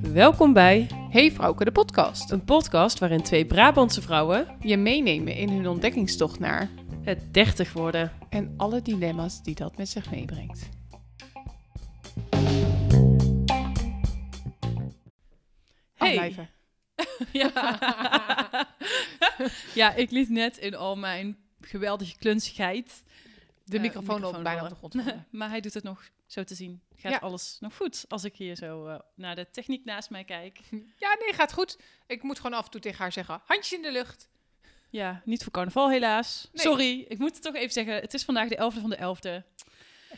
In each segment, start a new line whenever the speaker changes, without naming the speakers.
Welkom bij
Hey Vrouwke, de podcast.
een podcast waarin twee Brabantse vrouwen
Je meenemen in hun ontdekkingstocht naar
het 30 worden.
en alle dilemma's die dat met zich meebrengt.
Hey.
Afblijven.
Ja. ja, ik liet net in al mijn geweldige klunsigheid.
De
eh,
microfoon, loopt bijna op
vallen.
de grond. vallen.
Maar hij doet het nog zo te zien. Gaat
Ja.
alles nog goed als ik hier zo eh, naar de techniek naast mij kijk?
ja, nee, gaat goed. Ik moet gewoon af en toe tegen haar zeggen, handjes in de lucht.
Ja, niet voor carnaval helaas.
Nee.
Sorry, ik moet het toch even zeggen. Het is vandaag de 11e van de 11e.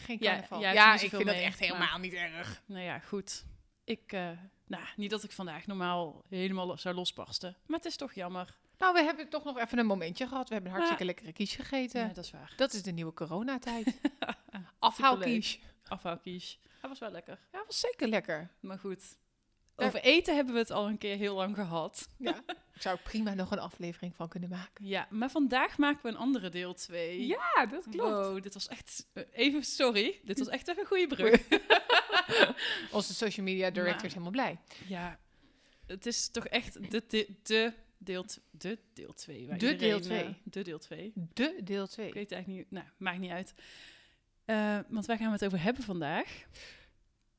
Geen
Ja,
carnaval.
jij hebt er
ja
niet
ik
zoveel
vind dat
mee,
echt
maar-
helemaal niet erg.
Nou ja, goed. Ik, eh, nou, niet dat ik vandaag normaal helemaal lo- zou losbarsten. Maar het is toch jammer.
Nou, we hebben toch nog even een momentje gehad. We hebben een hartstikke lekkere quiche gegeten.
Ja, dat is waar.
Dat is de nieuwe coronatijd.
Superleuk.
Afhaalkies.
Afhaalkies. Dat was wel lekker.
Ja, was zeker lekker.
Maar goed.
Daar-
Over eten hebben we het al een keer heel lang gehad.
Ja. Daar zou ik prima nog een aflevering van kunnen maken.
Ja, maar vandaag maken we een andere deel 2.
Ja, dat
Wow, dit was echt... eh, Even, sorry. Dit was echt even een goede brug.
Onze social media director
Maar-
is helemaal blij.
ja. Het is toch echt de, de, de deel... tw- De deel 2.
De deel twee.
eh, De deel 2. Ik
De deel 2.
weet het eigenlijk niet... Nou, maakt niet uit. Eh, want waar gaan we het over hebben vandaag?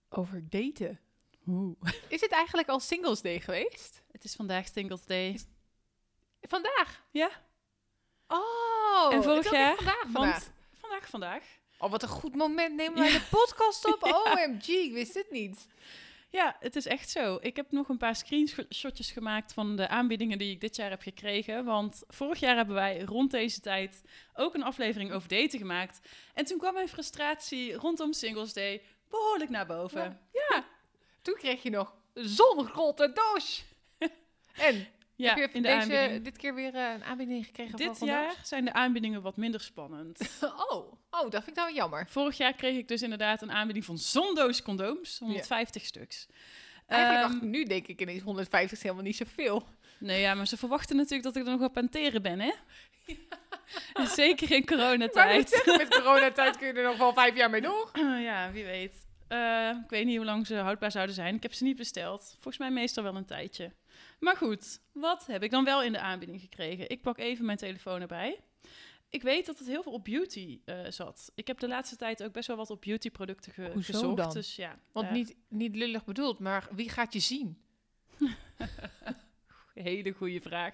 Over daten.
Oeh.
Is het eigenlijk al Singles Day geweest?
Het is vandaag Singles Day.
Vandaag?
Ja.
Oh,
En vorig
ik dacht
jaar?
echt
Want-
Vandaag, vandaag.
Vandaag, vandaag.
Oh, wat een goed moment. Neem maar de podcast op. OMG, ik wist het niet.
Ja, het is echt zo. Ik heb nog een paar screenshotjes gemaakt van de aanbiedingen die ik dit jaar heb gekregen. Want vorig jaar hebben wij rond deze tijd ook een aflevering over daten gemaakt. En toen kwam mijn frustratie rondom Singles Day behoorlijk naar boven.
Ja. Toen kreeg je nog zongrotte doos. En
Ja,
heb je
in de
deze,
aanbieding.
dit keer weer eh, een aanbieding gekregen
Dit
van
jaar zijn de aanbiedingen wat minder spannend.
vandaag? Oh, oh, dat vind ik nou wel jammer.
Vorig jaar kreeg ik dus inderdaad een aanbieding van zo'n doos condooms, 150 stuks.
Eigenlijk
Ehm,
dacht ik nu denk ik ineens 150 is helemaal niet zoveel.
Nee, ja, maar ze verwachten natuurlijk dat ik er nog op penteren ben, hè? En Zeker in coronatijd.
Met coronatijd kun je er nog wel vijf jaar mee door.
Eh, ja, wie weet. Eh, ik weet niet hoe lang ze houdbaar zouden zijn. Ik heb ze niet besteld. Volgens mij meestal wel een tijdje. Maar goed, wat heb ik dan wel in de aanbieding gekregen? Ik pak even mijn telefoon erbij. Ik weet dat het heel veel op beauty eh, zat. Ik heb de laatste tijd ook best wel wat op beautyproducten ge-
Hoezo
gezocht.
dan?
Dus ja,
Want
daar-
niet, niet lullig bedoeld, maar wie gaat je zien?
Hele goede vraag.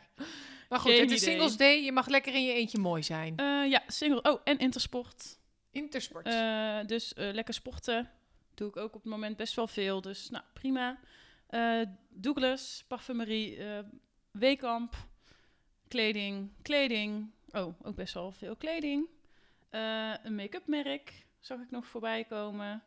Maar goed,
Geen
het is
idee.
Singles Day. Je mag lekker in je eentje mooi zijn.
Eh, ja, single. Oh, en Intersport.
Intersport.
Eh, dus eh, lekker sporten. Doe ik ook op het moment best wel veel. Dus nou, prima. Eh, Douglas, parfumerie, eh, Weekamp, kleding, kleding. Oh, ook best wel veel kleding. Eh, een make-up merk zag ik nog voorbij komen.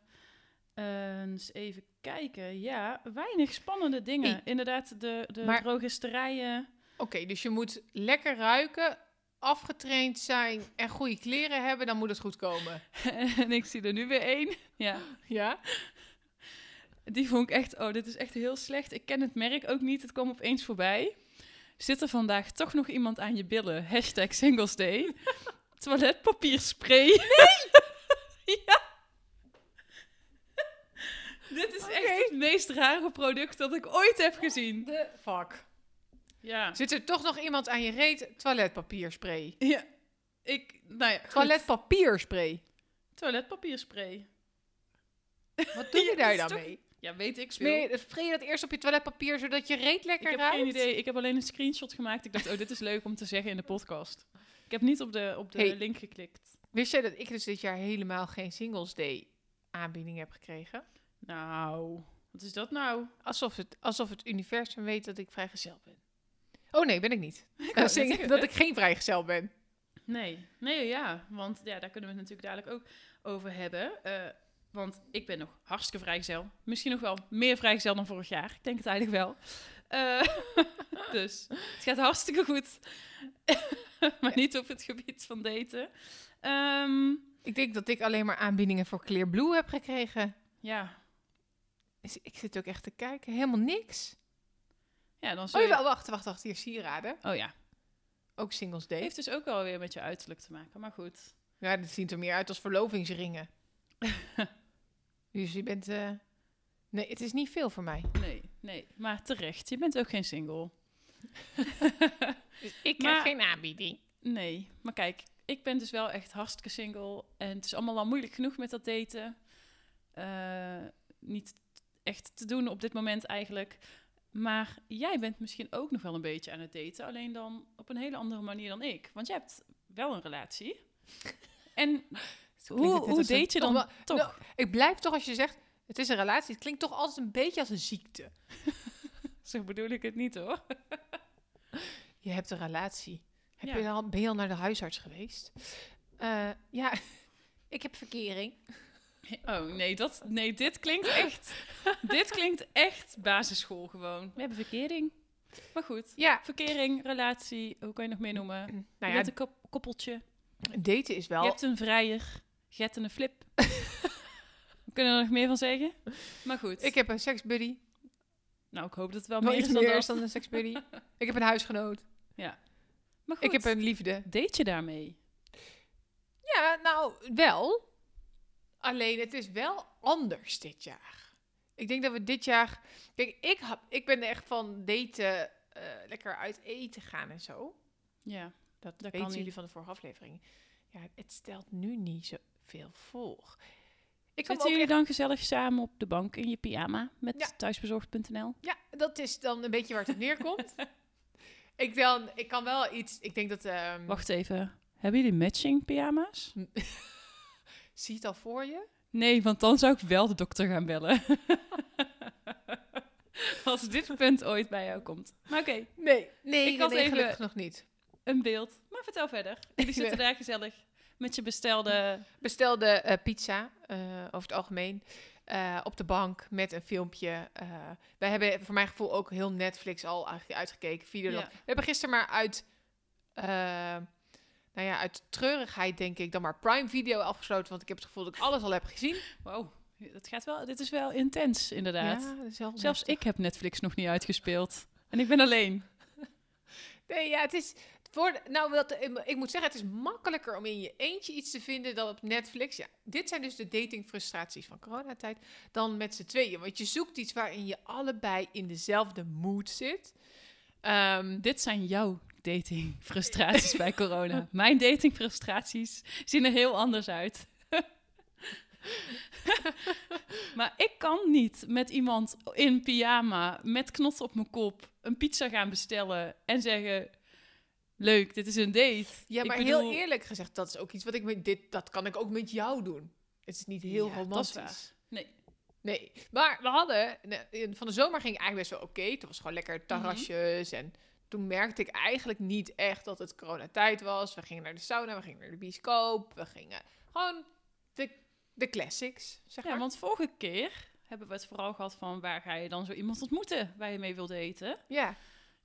Eh, eens even kijken. Ja, weinig spannende dingen.
Hey.
Inderdaad, de, de
Maar-
drogisterijen.
Oké, dus je moet lekker ruiken, afgetraind zijn en goede kleren hebben. Dan moet het goed komen.
en ik zie er nu weer één. Ja.
Ja?
Die vond ik echt, oh, dit is echt heel slecht. Ik ken het merk ook niet, het kwam opeens voorbij. Zit er vandaag toch nog iemand aan je billen? Hashtag Singles Day. Toiletpapierspray. ja. Dit is echt het meest rare product dat ik ooit heb gezien.
De fuck.
Ja.
Zit er toch nog iemand aan je reet? Toiletpapierspray.
ja. Ik, nou ja, goed.
Toiletpapierspray.
Toiletpapierspray.
Wat doe je
Ja,
daar
dat is
dan
toch-
mee?
Ja, weet ik veel.
Smeer, spray je dat eerst op je toiletpapier zodat je reet
Ik
lekker
heb
ruikt?
geen idee. Ik heb alleen een screenshot gemaakt. Ik dacht, oh, dit is leuk om te zeggen in de podcast. Ik heb niet op de, op de
Hey.
link geklikt.
Wist jij dat ik dus dit jaar helemaal geen Singles Day aanbieding heb gekregen?
Nou, wat is dat nou?
Alsof het, alsof het universum weet dat ik vrijgezel ben. Oh nee, ben ik niet. Ik
wou net
zingen
zeggen.
dat ik geen vrijgezel ben.
Nee, nee, ja. Want ja, daar kunnen we het natuurlijk dadelijk ook over hebben. Eh, want ik ben nog hartstikke vrijgezel. Misschien nog wel meer vrijgezel dan vorig jaar. Ik denk het eigenlijk wel. Eh, dus het gaat hartstikke goed. maar niet op het gebied van daten. Ehm,
Ik denk dat ik alleen maar aanbiedingen voor Clear Blue heb gekregen.
ja.
Dus ik zit ook echt te kijken. Helemaal niks.
ja, dan
Oh
zul je...
jawel, wacht, wacht, wacht. Hier sieraden.
Oh ja.
Ook Singles Day.
Heeft dus ook wel weer met je uiterlijk te maken, maar goed.
Ja, dit ziet er meer uit als verlovingsringen. Dus je bent... eh, nee, het is niet veel voor mij.
Nee, nee. Maar terecht, je bent ook geen single.
Dus ik
Maar-
krijg geen aanbieding.
Nee, maar kijk, ik ben dus wel echt hartstikke single. En het is allemaal al moeilijk genoeg met dat daten. Eh, niet echt te doen op dit moment eigenlijk. Maar jij bent misschien ook nog wel een beetje aan het daten. Alleen dan op een hele andere manier dan ik. Want jij hebt wel een relatie. En
klinkt
hoe,
het net
hoe
als een-
date je dan
toch
toch?
Nou, ik blijf toch als je zegt, het is een relatie. Het klinkt toch altijd een beetje als een ziekte.
Zo bedoel ik het niet hoor.
Je hebt een relatie. Heb
Ja.
je al, ben je al naar de huisarts geweest? Eh, ja, ik heb verkering.
Oh nee, dat, nee dit klinkt echt... dit klinkt echt basisschool gewoon. We hebben verkering. Maar goed.
Ja,
Verkering, relatie, hoe kan je nog meer noemen? Je
nou ja,
bent een kop- koppeltje.
daten is wel...
Je hebt een vrijer. Je hebt een flip. We kunnen er nog meer van zeggen. Maar goed.
Ik heb een seksbuddy.
nou, ik hoop dat het wel
Nog
meer is
iets
dan
meer
dat.
is dan een seksbuddy. ik heb een huisgenoot.
Maar goed,
Ik heb een liefde.
date je daarmee?
Ja, nou, wel. Alleen het is wel anders dit jaar. Ik denk dat we dit jaar... Kijk, ik, hab, ik ben er echt van daten, eh, lekker uit eten gaan en zo.
Ja.
Dat,
Dat
weten
kan
jullie
niet.
van de vorige aflevering. Ja, het stelt nu niet zoveel voor. Ik kan me
Zitten
ook
jullie dan gezellig samen op de bank in je pyjama met
Ja.
thuisbezorgd.nl?
Ja, dat is dan een beetje waar het op neerkomt. ik, dan, ik kan wel iets... Ik denk dat... ehm,
Wacht even. Hebben jullie matching pyjama's?
Zie het al voor je?
Nee, want dan zou ik wel de dokter gaan bellen. Als dit punt ooit bij jou komt. Maar oké,
Nee. Nee,
Ik had
nee,
even-
gelukkig nog niet.
een beeld. Maar vertel verder. Jullie zitten daar gezellig met je bestelde...
Bestelde eh, pizza, eh, over het algemeen, eh, op de bank met een filmpje. eh. wij hebben voor mijn gevoel ook heel Netflix al eigenlijk uitgekeken, Videoland.
Ja.
We hebben gisteren maar uit, eh, nou ja, uit treurigheid denk ik, dan maar Prime Video afgesloten. Want ik heb het gevoel dat ik alles al heb gezien.
Wow, dat gaat wel, dit is wel intens inderdaad.
dat is wel
Zelfs
heftig.
ik heb Netflix nog niet uitgespeeld. En ik ben alleen.
Nee, ja, het is... Voor, nou, wat, ik moet zeggen, het is makkelijker om in je eentje iets te vinden dan op Netflix. Ja, dit zijn dus de datingfrustraties van coronatijd dan met z'n tweeën. Want je zoekt iets waarin je allebei in dezelfde mood zit. Ehm,
Dit zijn jouw datingfrustraties bij corona. Mijn datingfrustraties zien er heel anders uit. maar ik kan niet met iemand in pyjama, met knots op mijn kop, een pizza gaan bestellen en zeggen... Leuk, dit is een date.
ja,
Ik
maar
bedoel-
heel eerlijk gezegd, dat is ook iets wat ik met dit... Dat kan ik ook met jou doen. Het is niet heel
Ja, dat is
romantisch.
waar. Nee.
Nee, maar we hadden... nou, in- Van de zomer ging het eigenlijk best wel oké. Het was gewoon
Mhm.
lekker terrasjes en... Toen merkte ik eigenlijk niet echt dat het coronatijd was. We gingen naar de sauna, we gingen naar de bioscoop. We gingen gewoon de, de classics, zeg
Ja,
maar.
want vorige keer hebben we het vooral gehad van waar ga je dan zo iemand ontmoeten waar je mee wilt eten.
Ja,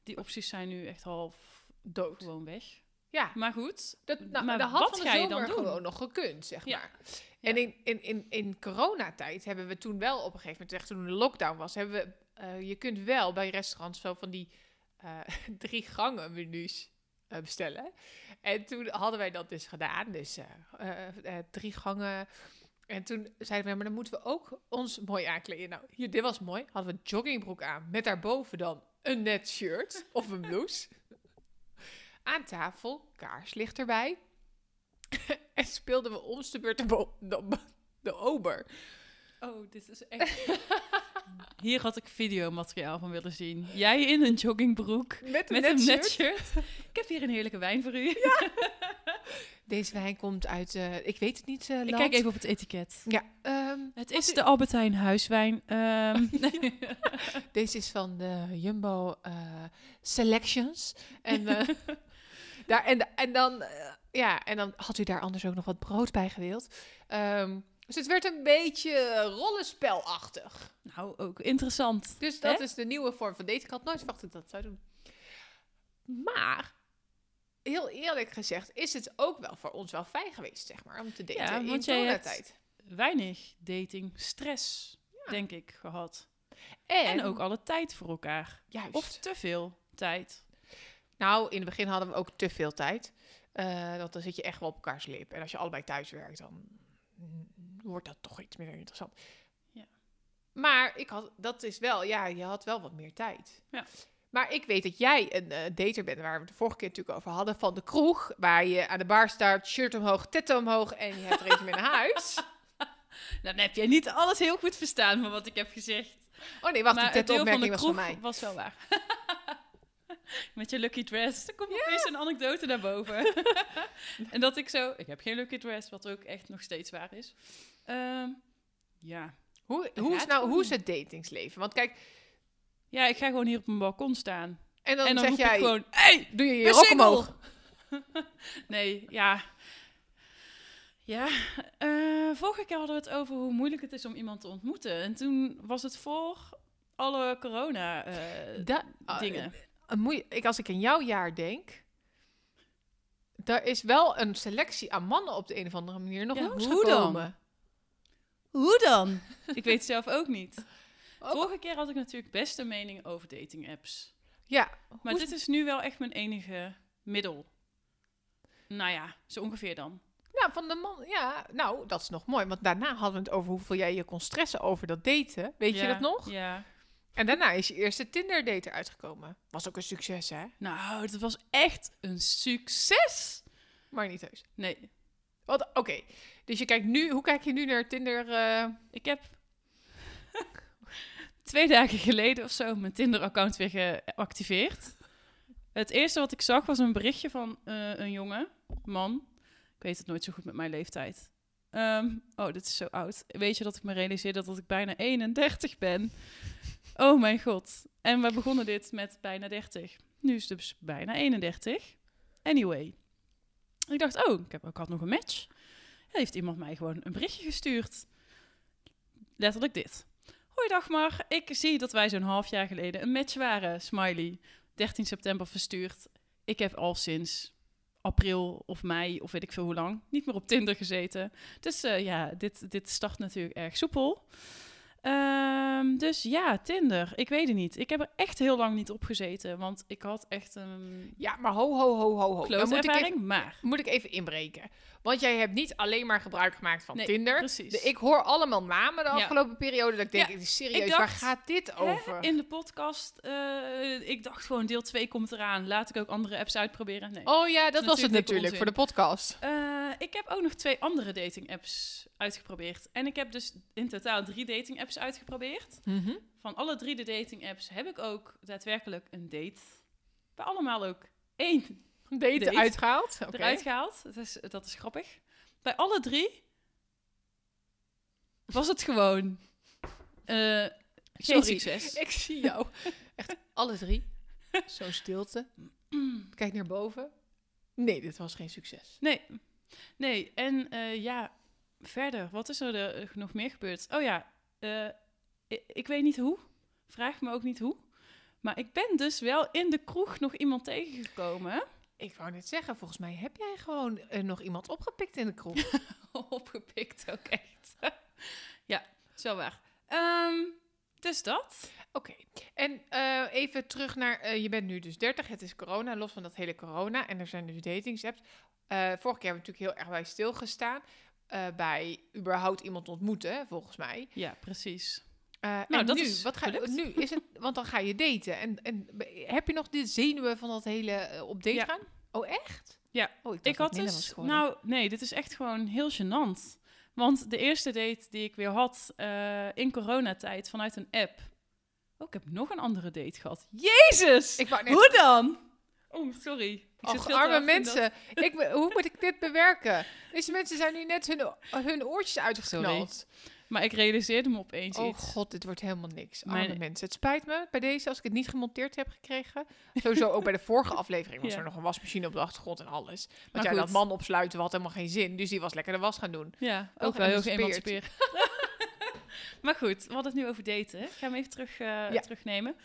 Die opties zijn nu echt half
dood.
gewoon weg.
Ja,
Maar goed,
dat, nou,
Maar
de hand
wat
van de
ga je
zomer
dan doen?
gewoon nog gekund, zeg
Ja.
maar. En in, in, in, in coronatijd hebben we toen wel op een gegeven moment, echt toen de lockdown was, hebben we, eh, je kunt wel bij restaurants zo van die eh, drie gangen menus eh, bestellen. En toen hadden wij dat dus gedaan, dus eh, eh, eh, drie gangen. En toen zeiden we, ja, maar dan moeten we ook ons mooi aankleden. Nou, hier, dit was mooi. Hadden we een joggingbroek aan, met daarboven dan een net shirt of een blouse. Aan tafel, kaarslicht erbij. En speelden we om de beurt de, bo- de, de ober.
oh, dit is echt... Hier had ik videomateriaal van willen zien. Jij in een joggingbroek
Met
met
net
een
shirt.
net shirt. Ik heb hier een heerlijke wijn voor u.
Deze wijn komt uit, eh, ik weet het niet, eh,
ik
land.
kijk even op het etiket.
Ja, ehm,
Het is de Albert Heijn huiswijn. Ehm,
deze is van de Jumbo eh, Selections. En, eh, daar, en, en, dan, eh, ja, en dan had u daar anders ook nog wat brood bij gewild. Ehm, dus het werd een beetje eh, rollenspelachtig.
nou, ook interessant.
Dus dat
Hè?
is de nieuwe vorm van dating. Ik had nooit verwacht dat ik dat zou doen. Maar, heel eerlijk gezegd, is het ook wel voor ons wel fijn geweest, zeg maar, om te daten
Ja,
in
want jij hebt-
coronatijd.
Weinig dating stress, denk ik, gehad. En ook alle tijd voor elkaar.
Juist.
Of te veel tijd.
nou, in het begin hadden we ook te veel tijd. Eh, want dan zit je echt wel op elkaars lip. En als je allebei thuis werkt, dan mm, wordt dat toch iets minder interessant. Maar ik had, dat is wel, ja, je had wel wat meer tijd.
Ja.
Maar ik weet dat jij een eh, dater bent, waar we het de vorige keer natuurlijk over hadden, van de kroeg, waar je aan de bar staat, shirt omhoog, tetten omhoog en je hebt er eentje mee naar huis.
Nou, Dan heb jij niet alles heel goed verstaan van wat ik heb gezegd.
Oh nee, wacht, die
het deel van de
tettenopmerking was
kroeg
van mij.
was wel waar. Met je lucky dress. Er komt opeens een anekdote naar boven. en dat ik zo... Ik heb geen lucky dress, wat ook echt nog steeds waar is. Ehm, ja.
Hoe, hoe, is
gaat
nou,
gewoon
hoe is het datingsleven? Want kijk,
Ja, ik ga gewoon hier op mijn balkon staan.
en dan,
en dan
zeg
roep
jij,
ik gewoon... Hey,
doe je je
ben
rok
single!"
omhoog.
nee, ja. Ja, eh, vorige keer hadden we het over hoe moeilijk het is om iemand te ontmoeten. En toen was het voor alle corona eh,
Da- ah,
dingen.
een moe- ik, als ik in jouw jaar denk, daar is wel een selectie aan mannen op de een of andere manier nog
Ja,
langsgekomen.
hoe dan? Hoe dan? Ik weet het zelf ook niet.
Ook-
Vorige keer had ik natuurlijk best een mening over dating apps.
Ja,
Maar
Hoe-
dit is nu wel echt mijn enige middel. Nou ja, zo ongeveer dan.
nou, van de man, ja, nou, dat is nog mooi. Want daarna hadden we het over hoeveel jij je kon stressen over dat daten. Weet je
Ja,
dat nog?
Ja.
En daarna is je eerste Tinder-date uitgekomen. Was ook een succes, hè?
Nou, het was echt een succes.
Maar niet heus.
Nee,
Wat, oké. Dus je kijkt nu, hoe kijk je nu naar Tinder? eh?
ik heb twee dagen geleden of zo mijn Tinder-account weer geactiveerd. Het eerste wat ik zag was een berichtje van eh, een jongen, man. Ik weet het nooit zo goed met mijn leeftijd. Ehm, oh, dit is zo oud. Weet je dat ik me realiseerde dat ik bijna 31 ben? Oh mijn god. En we begonnen dit met bijna 30. Nu is het dus bijna 31. Anyway. Ik dacht, oh, ik, heb, ik had nog een match. Heeft iemand mij gewoon een berichtje gestuurd? Letterlijk dit. Hoi Dagmar, ik zie dat wij zo'n half jaar geleden een match waren. Smiley, 13 september verstuurd. Ik heb al sinds april of mei of weet ik veel hoe lang niet meer op Tinder gezeten. Dus eh, ja, dit, dit start natuurlijk erg soepel. Ehm, dus ja, Tinder, ik weet het niet. Ik heb er echt heel lang niet op gezeten, want ik had echt een
Ja, maar ho, ho, ho, ho, ho. Oh, Dan
klote
moet ik, even,
ervaring, maar...
moet ik even inbreken. Want jij hebt niet alleen maar gebruik gemaakt van
Nee,
Tinder.
Precies.
De- ik hoor allemaal namen de
Ja.
afgelopen periode. Dat ik denk,
Ja,
serieus,
ik dacht,
waar gaat dit
Hè,
over?
in de podcast, eh, ik dacht gewoon deel 2 komt eraan. Laat ik ook andere apps uitproberen. Nee.
oh ja, dat was het
natuurlijk
natuurlijk
onzin.
voor de podcast.
Eh, ik heb ook nog twee andere dating apps uitgeprobeerd. En ik heb dus in totaal drie dating apps uitgeprobeerd.
Mhm.
Van alle drie de dating apps heb ik ook daadwerkelijk een date. Bij allemaal ook één
Date,
Date.
uitgehaald. Oké.
eruit gehaald. Dat is, dat is grappig. Bij alle drie was het gewoon eh, geen
Sorry.
succes.
Ik zie jou. Echt alle drie. Zo'n stilte. Kijk naar boven. Nee, dit was geen succes.
Nee, nee. En eh, ja, verder, wat is er eh, nog meer gebeurd? Oh ja, eh, ik, ik weet niet hoe. Vraag me ook niet hoe. Maar ik ben dus wel in de kroeg nog iemand tegengekomen.
Ik wou net zeggen, volgens mij heb jij gewoon eh, nog iemand opgepikt in de kroeg.
Opgepikt ook echt. ja, zo waar. Ehm, dus dat.
Oké. En eh, even terug naar, eh, je bent nu dus 30, het is corona, los van dat hele corona. En er zijn dus datingsapps. Eh vorige keer hebben we natuurlijk heel erg bij stilgestaan. eh, bij überhaupt iemand ontmoeten, hè, volgens mij.
Ja, precies.
Eh,
Nou,
en
dat
nu,
is
wat ga,
gelukt.
nu is het, want dan ga je daten. En, en be- heb je nog dit zenuwen van dat hele eh, op date
Ja.
gaan? Oh, echt?
Ja.
Oh, dacht
Ik had
dat Nina
dus,
was geworden.
nou nee, dit is echt gewoon heel gênant. Want de eerste date die ik weer had eh, in coronatijd vanuit een app. Oh, ik heb nog een andere date gehad. Jezus!
Ik wou net,
Hoe dan? Oh, sorry. Ik zit
ach,
veel te
arme
hard in dat-
mensen. Ik, be- hoe moet ik dit bewerken? Deze mensen zijn nu net hun, hun oortjes uitgeknald.
Maar ik realiseerde me opeens
Oh
iets.
god, dit wordt helemaal niks. Arme
Mijn-
mensen. Het spijt me bij deze als ik het niet gemonteerd heb gekregen. Sowieso ook bij de vorige aflevering was
Ja.
er nog een wasmachine op de achtergrond en alles. Want
Maar
jij
goed.
dat man opsluiten had helemaal geen zin. Dus die was lekker de was gaan doen.
Ja,
Wel
ook wel heel
geëmancipeerd.
geëmancipeerd. maar goed, we hadden het nu over daten. hè? Ik ga hem even terug, eh,
Ja.
terugnemen.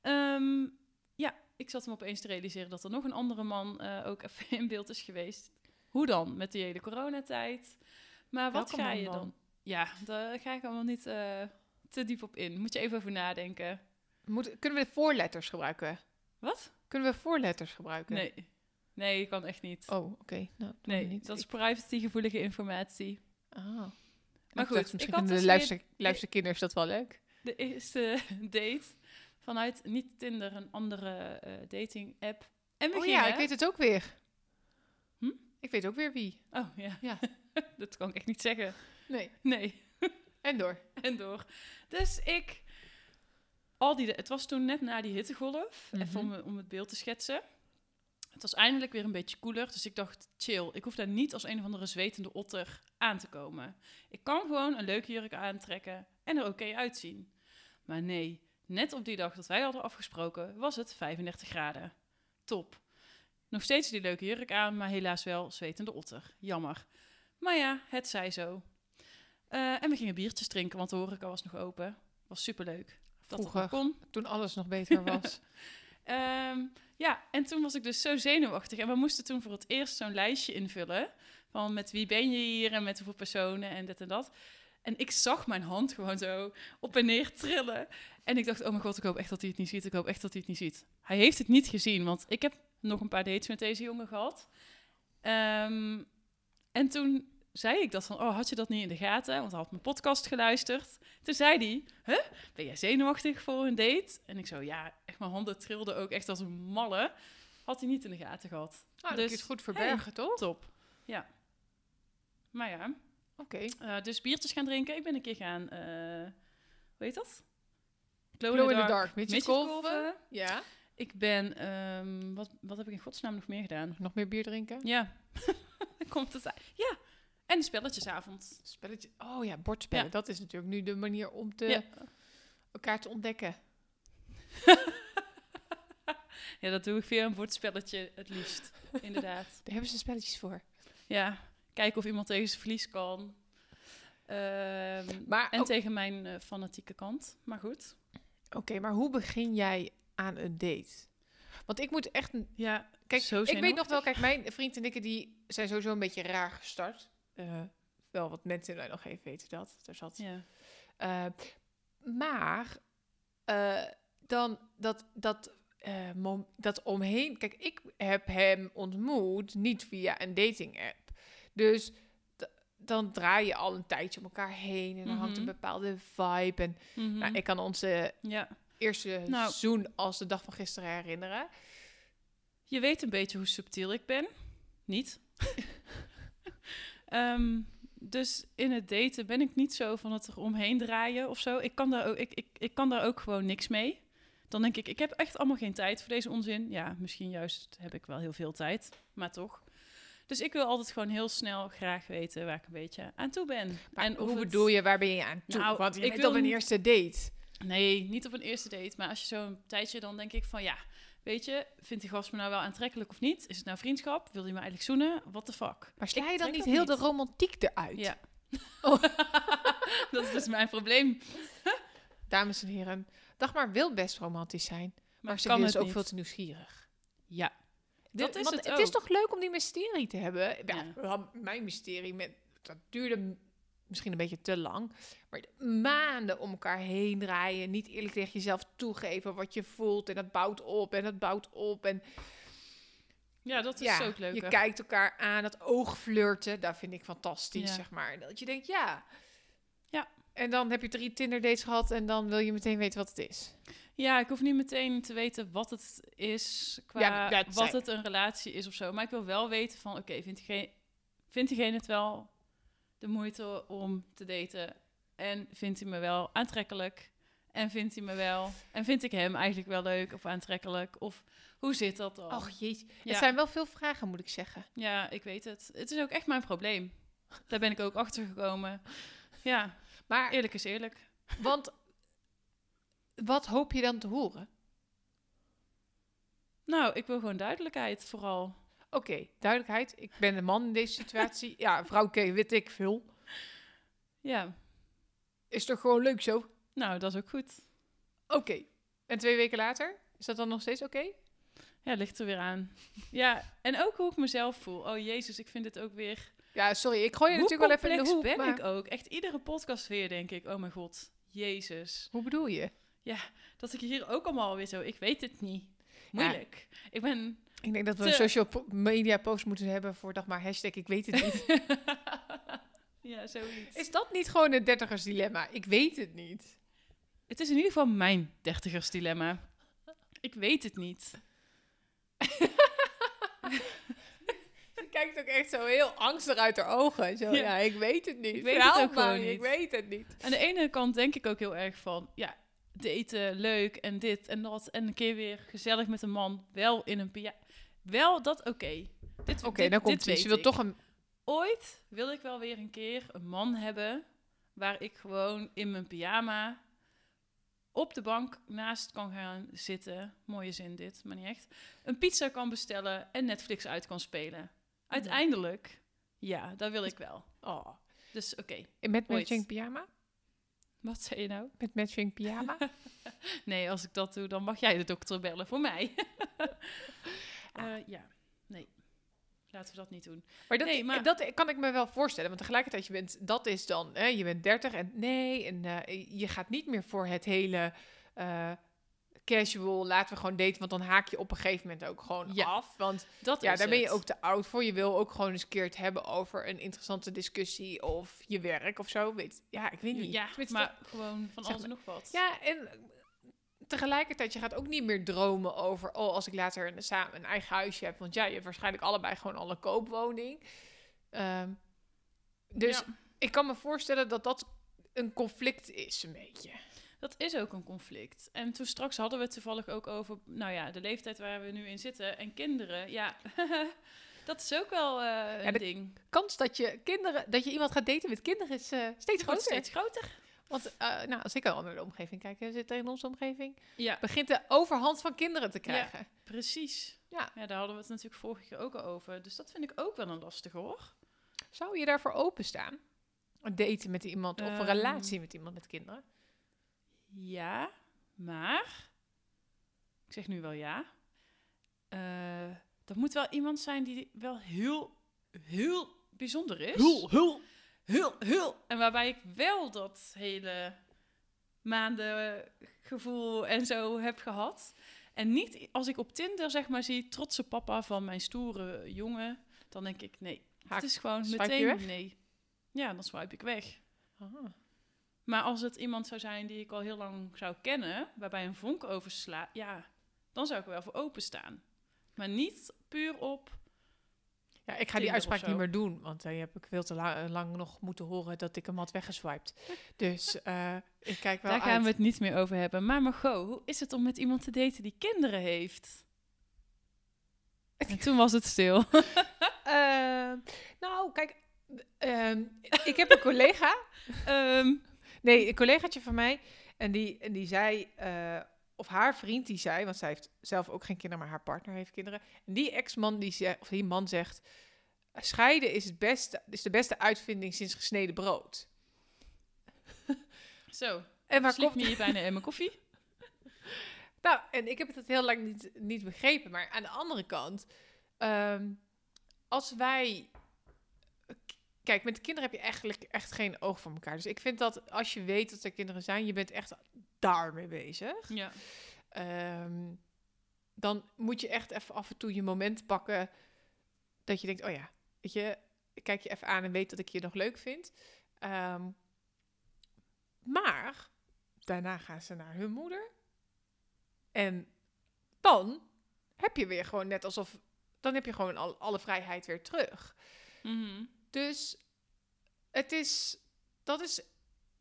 Ehm, ja, ik zat hem opeens te realiseren dat er nog een andere man eh, ook even in beeld is geweest. Hoe dan? Met die hele coronatijd. Maar wat
Welke
ga je
man dan?
dan? Ja, daar ga ik allemaal niet eh, te diep op in. Moet je even over nadenken.
Moet, kunnen we voorletters gebruiken?
Wat?
Kunnen we voorletters gebruiken?
Nee. Nee, kan echt niet.
Oh, oké. Nou, doen we
nee,
niet.
dat is
Ik-
privacygevoelige informatie.
Ah.
Maar
Ik
goed,
dacht,
ik
misschien
had
vinden de
dus weer-
luister, luisterkinders dat wel leuk.
de eerste date vanuit niet Tinder, een andere eh, dating app. En we
Oh
gingen...
ja, ik weet het ook weer.
Hm?
Ik weet ook weer wie.
Oh ja,
Ja.
dat kan ik echt niet zeggen.
Nee.
Nee.
En door.
en door. Dus ik. Al die, het was toen net na die hittegolf,
Mhm.
even om, om het beeld te schetsen. Het was eindelijk weer een beetje koeler, dus ik dacht, chill, ik hoef daar niet als een of andere zwetende otter aan te komen. Ik kan gewoon een leuke jurk aantrekken en er oké uitzien. Maar nee, net op die dag dat wij hadden afgesproken, was het 35 graden. Top. Nog steeds die leuke jurk aan, maar helaas wel zwetende otter. Jammer. Maar ja, het zij zo. Eh, en we gingen biertjes drinken, want de horeca was nog open. Was superleuk. Dat het
Vroeger.
nog kon.
Toen alles nog beter was. Nou,
Ehm, ja, en toen was ik dus zo zenuwachtig. En we moesten toen voor het eerst zo'n lijstje invullen. Van met wie ben je hier en met hoeveel personen en dit en dat. En ik zag mijn hand gewoon zo op en neer trillen. En ik dacht, oh mijn god, ik hoop echt dat hij het niet ziet. Ik hoop echt dat hij het niet ziet. Hij heeft het niet gezien, want ik heb nog een paar dates met deze jongen gehad. Ehm, en toen zei ik dat van, oh, had je dat niet in de gaten? Want hij had mijn podcast geluisterd. Toen zei hij, ben jij zenuwachtig voor een date? En ik zo, ja, echt mijn handen trilden ook echt als een malle. Had hij niet in de gaten gehad.
Nou,
Dus,
dat is goed verbergen, toch?
Top. Ja. Maar ja,
Oké.
eh, dus biertjes gaan drinken. Ik ben een keer gaan, eh hoe heet dat? Glow,
Glow in the dark. Midget
midgetkolven.
golven. Ja.
Ik ben, ehm, wat, wat heb ik in godsnaam nog meer gedaan?
Nog meer bier drinken?
Ja, dan komt het uit. Ja, en de spelletjesavond.
Spelletje. Oh ja, bordspellen.
Ja.
Dat is natuurlijk nu de manier om te,
Ja.
elkaar te ontdekken.
ja, dat doe ik via een woordspelletje het liefst, inderdaad.
Daar hebben ze spelletjes voor.
Ja, kijken of iemand tegen zijn verlies kan. Ehm,
Maar
en
ook-
tegen mijn eh, fanatieke kant. Maar goed.
Oké, maar hoe begin jij aan een date? Want ik moet echt... een-
Ja,
Kijk,
Zo
ik weet nog wel... Kijk, mijn vriend en ik die zijn sowieso een beetje raar gestart. Eh, wel wat mensen in mij nog even weten dat. Daar zat
ja.
Eh, maar eh, dan dat, dat, eh, mom- dat omheen. Kijk, ik heb hem ontmoet niet via een dating app. Dus d- dan draai je al een tijdje om elkaar heen. En dan hangt een
Mhm.
bepaalde vibe. En
Mhm.
nou, ik kan onze
ja.
eerste
Nou.
zoen als de dag van gisteren herinneren.
Je weet een beetje hoe subtiel ik ben. Niet. Ehm, dus in het daten ben ik niet zo van het eromheen draaien of zo. Ik kan daar ook, ik, ik, ik kan daar ook gewoon niks mee. Dan denk ik, ik heb echt allemaal geen tijd voor deze onzin. Ja, misschien juist heb ik wel heel veel tijd, maar toch. Dus ik wil altijd gewoon heel snel graag weten waar ik een beetje aan toe ben.
Maar
en
hoe bedoel je, waar ben je aan toe?
Nou,
Want je
ik
bent
wil
op een
niet-
eerste date.
Nee, niet op een eerste date. Maar als je zo'n tijdje, dan denk ik van ja, weet je, vindt die gast me nou wel aantrekkelijk of niet? Is het nou vriendschap? Wil hij me eigenlijk zoenen? What the fuck?
Maar sla
Ik
je dan
trek
niet
dat
heel
niet.
de romantiek eruit?
Ja.
Oh.
dat is dus mijn probleem.
Dames en heren, Dagmar wil best romantisch zijn. Maar, ze
kan
Oh, is
het
ook
niet.
veel te nieuwsgierig.
Ja. Dat
De-
is
want
het
is
ook.
toch leuk om die mysterie te hebben? Ja,
Ja.
wel, Mijn mysterie, met, dat duurde m- misschien een beetje te lang. Maar maanden om elkaar heen draaien. Niet eerlijk tegen jezelf toegeven wat je voelt. En dat bouwt op en dat bouwt op. En
Ja, dat is
ja,
ook leuk.
je kijkt elkaar aan. Dat oogflirten, dat vind ik fantastisch,
Ja.
zeg maar. Dat je denkt, ja.
Ja.
En dan heb je drie Tinder dates gehad en dan wil je meteen weten wat het is.
Ja, ik hoef niet meteen te weten wat het is, qua
Ja, dat zei
wat
ik.
het een relatie is of zo. Maar ik wil wel weten van, oké, vindt, diegene- vindt diegene het wel de moeite om te daten? En vindt hij me wel aantrekkelijk? En vindt hij me wel? En vind ik hem eigenlijk wel leuk of aantrekkelijk? Of hoe zit dat dan?
Och jeetje.
Oh. Ja.
Het zijn wel veel vragen, moet ik zeggen.
Ja, ik weet het. Het is ook echt mijn probleem. Daar ben ik ook achter gekomen. Ja,
Maar
eerlijk is eerlijk.
Want wat hoop je dan te horen?
Nou, ik wil gewoon duidelijkheid vooral.
Oké, duidelijkheid. Ik ben een man in deze situatie. ja, een vrouw, oké, weet ik veel.
Ja,
Is toch gewoon leuk zo? Oké.
nou, dat is ook goed.
En twee weken later? Is dat dan nog steeds oké?
Ja, ligt er weer aan. Ja, en ook hoe ik mezelf voel. Oh jezus, ik vind het ook weer...
Oh Ja, sorry, ik gooi je
hoe
natuurlijk wel even in de
complex
hoek.
ben
maar
ik ook. Echt iedere podcast weer denk ik, oh mijn god, jezus.
Hoe bedoel je?
Dat ik hier ook allemaal weer zo, ik weet het niet. Moeilijk. Ik ben...
Ik denk dat we
Te-
een social po- media post moeten hebben voor dag maar hashtag ik weet het niet.
ja, zoiets.
Is dat niet gewoon een dertigers dilemma? Ik weet het niet.
Het is in ieder geval mijn dertigersdilemma. Ik weet het niet.
Ze kijkt ook echt zo heel angstig uit haar ogen. Zo,
Ja.
ja. ik weet het niet.
Ik weet
Verhaal
het ook
maar
gewoon
niet. Ik
niet.
weet het niet.
Aan de ene kant denk ik ook heel erg van, ja, daten, leuk en dit en dat. En een keer weer gezellig met een man, wel in een pia. Wel, dat oké. Dit-
Oké,
dit-
dan komt
dit
ze.
weet
Ze wil
ik.
toch een...
Ooit wil ik wel weer een keer een man hebben waar ik gewoon in mijn pyjama op de bank naast kan gaan zitten. Mooie zin dit, maar niet echt. Een pizza kan bestellen en Netflix uit kan spelen.
Mhm.
Uiteindelijk, ja, dat wil ik wel.
Oh.
Dus oké,
Met
Ooit.
matching pyjama?
wat zei je nou?
Met matching pyjama?
Nee, als ik dat doe, dan mag jij de dokter bellen voor mij. Eh,
Ah.
ja, nee. Laten we dat niet doen.
Maar dat,
Nee, maar-
dat kan ik me wel voorstellen. Want tegelijkertijd, je bent, dat is dan, hè, je bent 30 en nee, en eh, je gaat niet meer voor het hele eh, casual, laten we gewoon daten. Want dan haak je op een gegeven moment ook gewoon
Ja.
af. Want
Dat
ja,
is
daar ben je
het.
ook te oud voor. Je wil ook gewoon eens een keer het hebben over een interessante discussie of je werk of zo. Weet, ja, ik weet niet.
Ja,
Tenminste,
maar gewoon van
zeg
alles en nog wat.
ja, en tegelijkertijd, je gaat ook niet meer dromen over... oh, als ik later een, samen een eigen huisje heb. Want ja, je hebt waarschijnlijk allebei gewoon al een koopwoning. Ehm, dus
Ja.
ik kan me voorstellen dat dat een conflict is, een beetje.
Dat is ook een conflict. En toen straks hadden we het toevallig ook over, nou ja, de leeftijd waar we nu in zitten en kinderen. Ja, dat is ook wel eh, een
de
ding.
Kans dat je, kinderen, dat je iemand gaat daten met kinderen is eh, steeds
Het wordt
groter.
steeds groter.
Want eh, nou, als ik al naar de omgeving kijk, hè, zit er in onze omgeving...
Ja,
begint de overhand van kinderen te krijgen.
precies.
Ja.
ja, daar hadden we het natuurlijk vorige keer ook al over. Dus dat vind ik ook wel een lastige hoor.
Zou je daarvoor openstaan? Een daten met iemand of een
Ehm.
relatie met iemand met kinderen?
Ja, maar. Ik zeg nu wel ja. Eh, dat moet wel iemand zijn die wel heel, heel bijzonder is.
hul.
Heel, heel. En waarbij ik wel dat hele maandengevoel en zo heb gehad. En niet i- als ik op Tinder zeg maar zie trotse papa van mijn stoere jongen, dan denk ik nee.
Haak-
het is gewoon
swipe je
meteen
weg?
nee. Ja, dan swipe ik weg.
Ah.
Maar als het iemand zou zijn die ik al heel lang zou kennen, waarbij een vonk overslaat, ja, dan zou ik er wel voor openstaan. Maar niet puur op.
Ja, ik ga die
Tinder
uitspraak
of
niet
zo.
meer doen, want eh, je hebt ik veel te la- eh, lang nog moeten horen dat ik hem had weggeswiped. Dus eh, ik kijk wel
Daar gaan
uit.
we het niet meer over hebben. Maar Margot, hoe is het om met iemand te daten die kinderen heeft? En toen was het stil.
Ehm, nou, kijk, ehm, ik heb een collega,
Ehm,
nee, een collegaatje van mij, en die, en die zei, eh, of haar vriend die zei, want zij heeft zelf ook geen kinderen, maar haar partner heeft kinderen. En die ex-man die zegt, of die man zegt, scheiden is, het beste, is de beste uitvinding sinds gesneden brood.
zo,
En waar
maar
komt
me hier bijna in mijn koffie.
Nou, en ik heb het heel lang niet, niet begrepen. Maar aan de andere kant, ehm, als wij. k- Kijk, met de kinderen heb je eigenlijk echt geen oog voor elkaar. Dus ik vind dat als je weet dat er kinderen zijn, je bent echt daarmee bezig.
Ja.
Ehm, dan moet je echt even af en toe je moment pakken dat je denkt, oh ja, weet je, ik kijk je even aan en weet dat ik je nog leuk vind. Ehm, maar daarna gaan ze naar hun moeder. En dan heb je weer gewoon net alsof, dan heb je gewoon al, alle vrijheid weer terug.
Mhm.
Dus het is, dat is,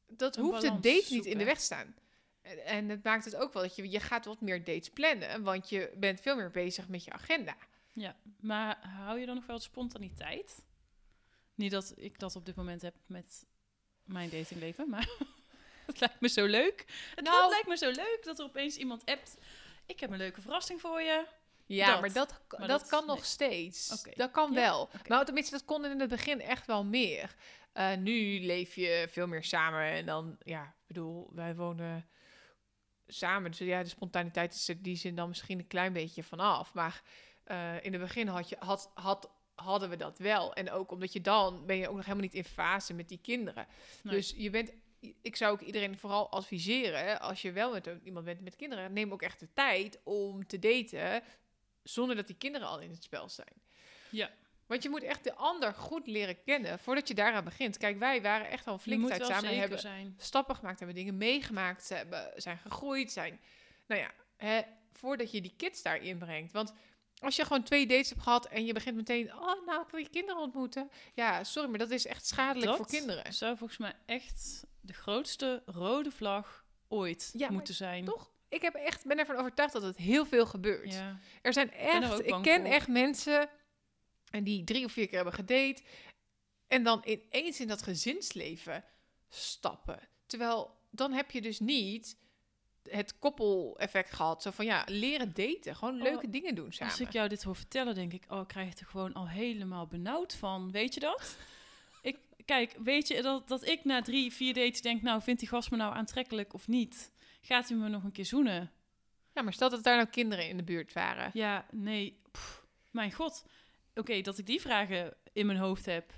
dat
Een
hoeft de
balans
date niet
zoeken.
in de weg te staan. En, en het maakt het ook wel dat je, je gaat wat meer dates plannen, want je bent veel meer bezig met je agenda.
Maar hou je dan nog wel de spontaniteit? Niet dat ik dat op dit moment heb met mijn datingleven, maar het lijkt me zo leuk. Het
Nou-
dat lijkt me zo leuk dat er opeens iemand appt. Ik heb een leuke verrassing voor je.
Ja,
Dat.
maar dat,
Maar
dat,
dat-
kan
nee.
nog steeds.
Oké.
Dat kan
Ja,
wel.
oké.
Maar tenminste, dat kon in het begin echt wel meer. Eh, nu leef je veel meer samen en dan, ja, ik bedoel, wij wonen samen. Dus ja, de spontaniteit is er die zin dan misschien een klein beetje vanaf. Maar eh, in het begin had je, had, had, hadden we dat wel. En ook omdat je dan, ben je ook nog helemaal niet in fase met die kinderen.
Nee.
Dus je bent, ik zou ook iedereen vooral adviseren, hè, als je wel met een- iemand bent met kinderen, neem ook echt de tijd om te daten zonder dat die kinderen al in het spel zijn.
Ja.
Want je moet echt de ander goed leren kennen voordat je daaraan begint. Kijk, wij waren echt al een
Je
flink
moet
tijd
wel
samen.
zeker
Hebben
zijn.
stappen gemaakt hebben, dingen meegemaakt ze hebben, zijn gegroeid, zijn. Nou ja, hè, voordat je die kids daarin brengt. Want als je gewoon twee dates hebt gehad en je begint meteen, oh, nou, ik wil je kinderen ontmoeten. Ja, sorry, maar dat is echt schadelijk
Dat
voor kinderen.
zou volgens mij echt de grootste rode vlag ooit
Ja, maar
moeten zijn.
Toch? Ik heb echt, ben ervan overtuigd dat het heel veel gebeurt.
Ja.
Er zijn
er
echt,
ook
ik
bang
ken
voor.
echt mensen en die drie of vier keer hebben gedate en dan ineens in dat gezinsleven stappen. Terwijl dan heb je dus niet het koppeleffect gehad. Zo van ja, leren daten, gewoon
Oh,
leuke dingen doen samen.
Als ik jou dit hoor vertellen, denk ik, oh, ik krijg het er gewoon al helemaal benauwd van. Weet je dat? ik, kijk, weet je dat, dat ik na drie, vier dates denk, nou, vindt die gast me nou aantrekkelijk of niet? Gaat hij me nog een keer zoenen?
Ja, maar stel dat daar nou kinderen in de buurt waren.
Ja, nee. Pff, mijn god. Oké, dat ik die vragen in mijn hoofd heb.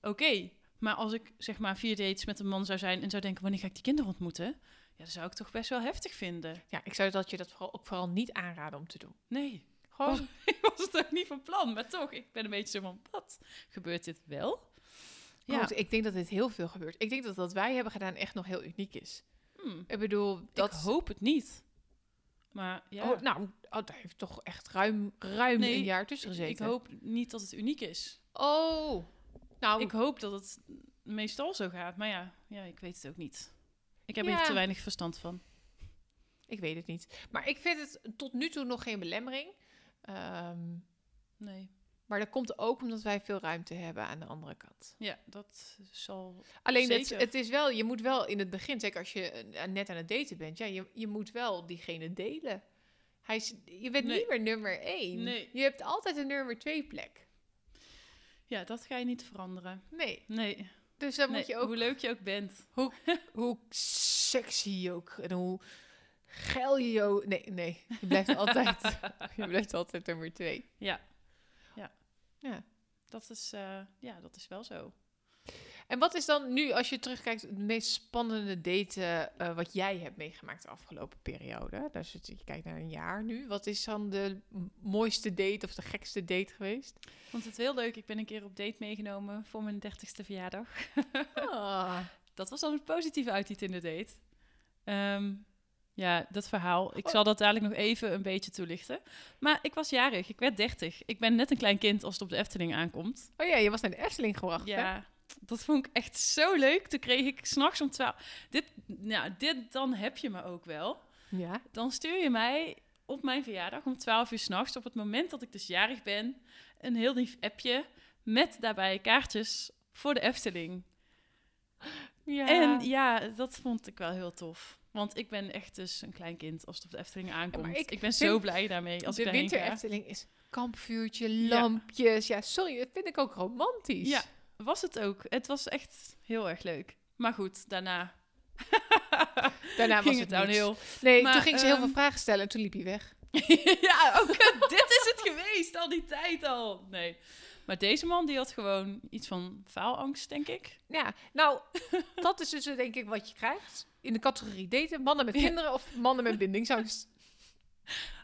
Oké, maar als ik zeg maar vier dates met een man zou zijn en zou denken, wanneer ga ik die kinderen ontmoeten? Ja, dat zou ik toch best wel heftig vinden.
Ja, ik zou dat je dat vooral, ook vooral niet aanraden om te doen.
Nee,
Gewoon,
ik was het ook niet van plan, maar toch, ik ben een beetje zo van, wat? Gebeurt dit wel? Ja,
Goed, ik denk dat dit heel veel gebeurt. Ik denk dat wat wij hebben gedaan echt nog heel uniek is.
hmm,
Ik bedoel, dat...
ik hoop het niet. Maar ja,
Oh, nou, oh, daar heeft toch echt ruim, ruim
Nee,
een jaar tussen gezeten.
ik hoop niet dat het uniek is.
Oh, nou,
Ik hoop dat het meestal zo gaat, maar ja, ja ik weet het ook niet. Ik heb
Ja.
hier te weinig verstand van.
ik weet het niet. Maar ik vind het tot nu toe nog geen belemmering. Ehm,
Nee.
maar dat komt ook omdat wij veel ruimte hebben aan de andere kant.
Ja, dat zal.
Alleen het,
Zeker.
het is wel, je moet wel in het begin, zeker als je eh, net aan het daten bent, ja, je, je moet wel diegene delen. Hij is, je bent
Nee.
niet meer nummer één.
Nee.
Je hebt altijd een nummer twee plek.
Ja, dat ga je niet veranderen.
Nee,
Nee.
dus dan
nee,
moet je ook
Hoe leuk je ook bent.
hoe sexy je ook en hoe geil je ook. Nee, nee, je blijft altijd, je blijft altijd nummer twee.
Ja. Ja.
Ja.
Dat is, eh, ja, dat is wel zo.
En wat is dan nu, als je terugkijkt, het meest spannende daten eh, wat jij hebt meegemaakt de afgelopen periode? Daar zit, je kijkt naar een jaar nu. Wat is dan de m- mooiste date of de gekste date geweest?
Want het is heel leuk. Ik ben een keer op date meegenomen voor mijn 30ste verjaardag. Ah. Dat was dan het positieve uit die Tinder date. Ehm, ja, dat verhaal. Ik
Oh.
zal dat dadelijk nog even een beetje toelichten. Maar ik was jarig. Ik werd 30. Ik ben net een klein kind als het op de Efteling aankomt.
Oh ja, je was naar de Efteling gebracht. hè?
Ja, dat vond ik echt zo leuk. Toen kreeg ik s'nachts om 12. Dit, nou, dit dan heb je me ook wel.
ja.
Dan stuur je mij op mijn verjaardag om 12 uur s'nachts, op het moment dat ik dus jarig ben, een heel lief appje met daarbij kaartjes voor de Efteling. En ja, dat vond ik wel heel tof. Want ik ben echt dus een klein kind als het op de Efteling aankomt.
ik
ik, ben zo
vind
blij daarmee als ik
de
daarheen
winter
ga.
Efteling is kampvuurtje,
Ja.
lampjes. Ja. sorry, dat vind ik ook romantisch.
Ja, was het ook. Het was echt heel erg leuk. Maar goed, daarna
Daarna was
ging
het
het
niks.
downhill.
Nee,
Maar,
toen ging ze heel veel
ehm,
vragen stellen en toen liep hij weg.
ja, ook dit is het geweest, al die tijd al. Nee. Maar deze man die had gewoon iets van faalangst, denk ik.
Ja, nou, dat is dus eh, denk ik wat je krijgt in de categorie daten. Mannen met
Ja.
kinderen of mannen met bindingsangst.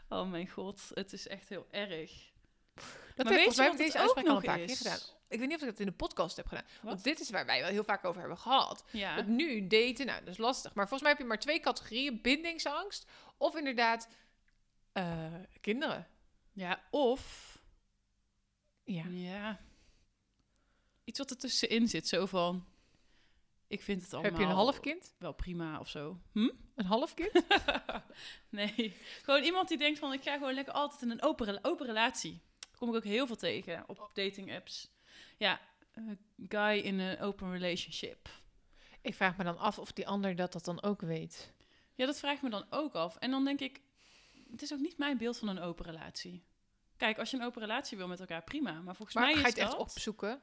Oh mijn god, het is echt heel erg.
Dat
maar
heb
weet
ik volgens
je
mij
wat
met deze
het ook
uitspraak al een
nog
paar keer
is?
gedaan. Ik weet niet of ik dat in de podcast heb gedaan. Want
Wat?
dit is waar wij wel heel vaak over hebben gehad.
Ja,
Want nu daten, nou, dat is lastig. Maar volgens mij heb je maar twee categorieën. Bindingsangst of inderdaad eh, kinderen.
ja of...
Ja.
Ja. Iets wat er tussenin zit, zo van... Ik vind het allemaal
Heb je een half kind?
wel prima of zo. Hm?
Een half kind?
nee, gewoon iemand die denkt van... Ik ga gewoon lekker altijd in een open, rela- open relatie. Kom ik ook heel veel tegen op dating apps. Ja, eh, guy in een open relationship.
ik vraag me dan af of die ander dat dat dan ook weet.
Ja, dat vraag ik me dan ook af. En dan denk ik, het is ook niet mijn beeld van een open relatie. Kijk, als je een open relatie wil met elkaar, prima. Maar volgens
Maar
mij
ga
is
je het echt
dat-
opzoeken?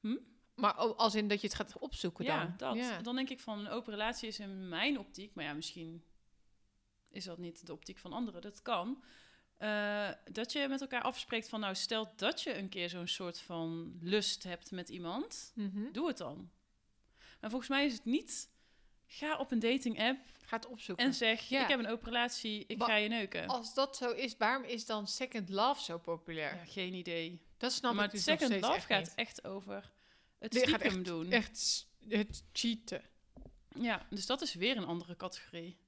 Hm?
Maar o- als in dat je het gaat opzoeken
Ja,
dan?
dat. Dan denk ik van, een open relatie is in mijn optiek... Maar ja, misschien is dat niet de optiek van anderen. Dat kan. Eh, dat je met elkaar afspreekt van... Nou, stel dat je een keer zo'n soort van lust hebt met iemand.
Mhm.
Doe het dan. Maar volgens mij is het niet... Ga op een dating app
Ga het opzoeken.
en zeg...
Ja.
Ik heb een open relatie, ik
Wa-
ga je neuken.
als dat zo is, waarom is dan Second Love zo populair?
Ja, geen idee.
Dat snap
maar
ik dus nog
Second
steeds
Love
echt
gaat
niet.
echt over het
Nee, gaat
stiekem doen.
Echt s- het cheaten.
Ja, dus dat is weer een andere categorie.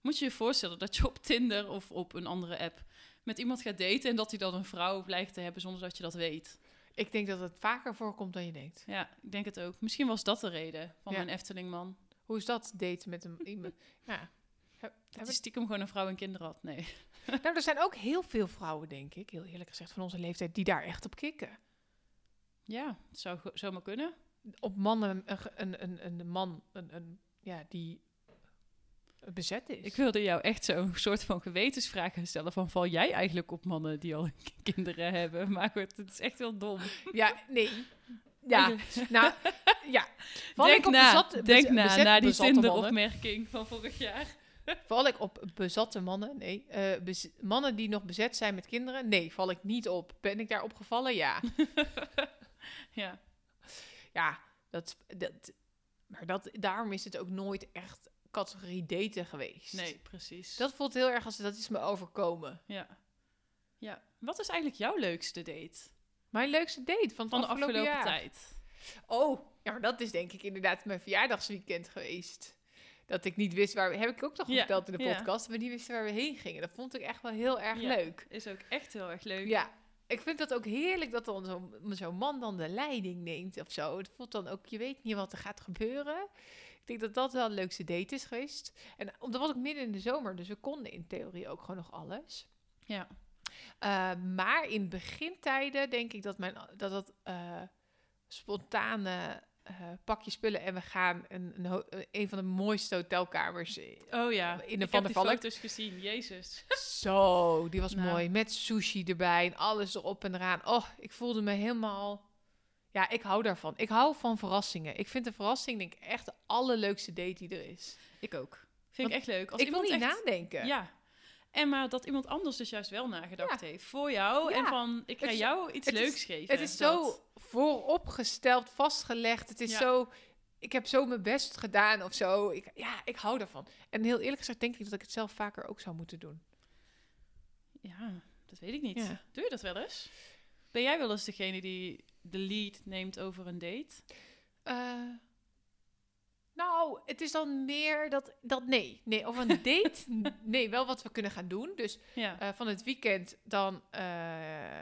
Moet je je voorstellen dat je op Tinder of op een andere app met iemand gaat daten en dat hij dan een vrouw blijkt te hebben zonder dat je dat weet.
Ik denk dat het vaker voorkomt dan je denkt.
Ja, ik denk het ook. Misschien was dat de reden van
Ja.
mijn Eftelingman.
Hoe is dat, daten met een iemand? ja. Heb-
Dat
heb
hij
ik-
stiekem gewoon een vrouw en kinderen had. Nee.
Nou, er zijn ook heel veel vrouwen, denk ik, heel eerlijk gezegd, van onze leeftijd, die daar echt op kikken.
Ja, het zou go- zomaar kunnen.
Op mannen, een, ge- een, een, een man, een, een, ja, die bezet is.
Ik wilde jou echt zo'n soort van gewetensvraag gaan stellen van val jij eigenlijk op mannen die al kinderen hebben? Maar goed, het is echt wel dom.
Ja, nee. Ja, nou, ja. Val
denk
ik op
na,
bezat-
denk
bez-
na,
bezet-
na die
bezatte mannen?
Tinder-opmerking van vorig jaar.
Val ik op bezatte mannen? Nee. Eh, bez- mannen die nog bezet zijn met kinderen? Nee, val ik niet op. Ben ik daar opgevallen? Ja.
Ja.
Ja, dat, dat, maar dat, daarom is het ook nooit echt categorie daten geweest.
Nee, precies.
Dat voelt heel erg als dat is me overkomen.
Ja. ja. Wat is eigenlijk jouw leukste date
Mijn leukste date van, het
van de
afgelopen,
afgelopen
jaar.
tijd?
Oh, ja, maar dat is denk ik inderdaad mijn verjaardagsweekend geweest. Dat ik niet wist waar we... Heb ik ook nog
Ja,
verteld in de
ja.
podcast. Maar niet wist waar we heen gingen. Dat vond ik echt wel heel erg
Ja.
leuk.
Is ook echt heel erg leuk.
Ja, ik vind dat ook heerlijk dat dan zo'n zo'n man dan de leiding neemt of zo. Het voelt dan ook, je weet niet wat er gaat gebeuren. Ik denk dat dat wel het leukste date is geweest. En omdat was ik midden in de zomer, dus we konden in theorie ook gewoon nog alles.
Ja.
Eh, maar in begintijden denk ik dat mijn, dat, dat eh, spontane eh, pak je spullen en we gaan een, een, ho- een van de mooiste hotelkamers.
Oh ja.
In de
Ik heb
Van der
die
Valk.
foto's gezien. Jezus.
Zo, die was
Nou.
mooi. Met sushi erbij en alles erop en eraan. Oh, ik voelde me helemaal... Ja, ik hou daarvan. Ik hou van verrassingen. Ik vind een verrassing denk ik echt de allerleukste date die er is.
Ik ook. Vind
Want
ik echt leuk. Als
ik wil
iemand
niet
echt...
nadenken.
Ja. En maar dat iemand anders dus juist wel nagedacht heeft voor jou.
Ja.
En van, ik ga
Het is-
jou iets
het is-
leuks geven.
Het is
Dat-
zo vooropgesteld, vastgelegd. Het is
Ja.
zo... Ik heb zo mijn best gedaan of zo. Ik, ja, ik hou daarvan. En heel eerlijk gezegd denk ik dat ik het zelf vaker ook zou moeten doen.
Ja, dat weet ik niet.
Ja.
Doe je dat wel eens? Ben jij wel eens degene die de lead neemt over een date?
Eh, nou, het is dan meer dat, dat nee. Nee, of een date. n- Nee, wel wat we kunnen gaan doen. Dus
Ja.
eh, van het weekend dan eh,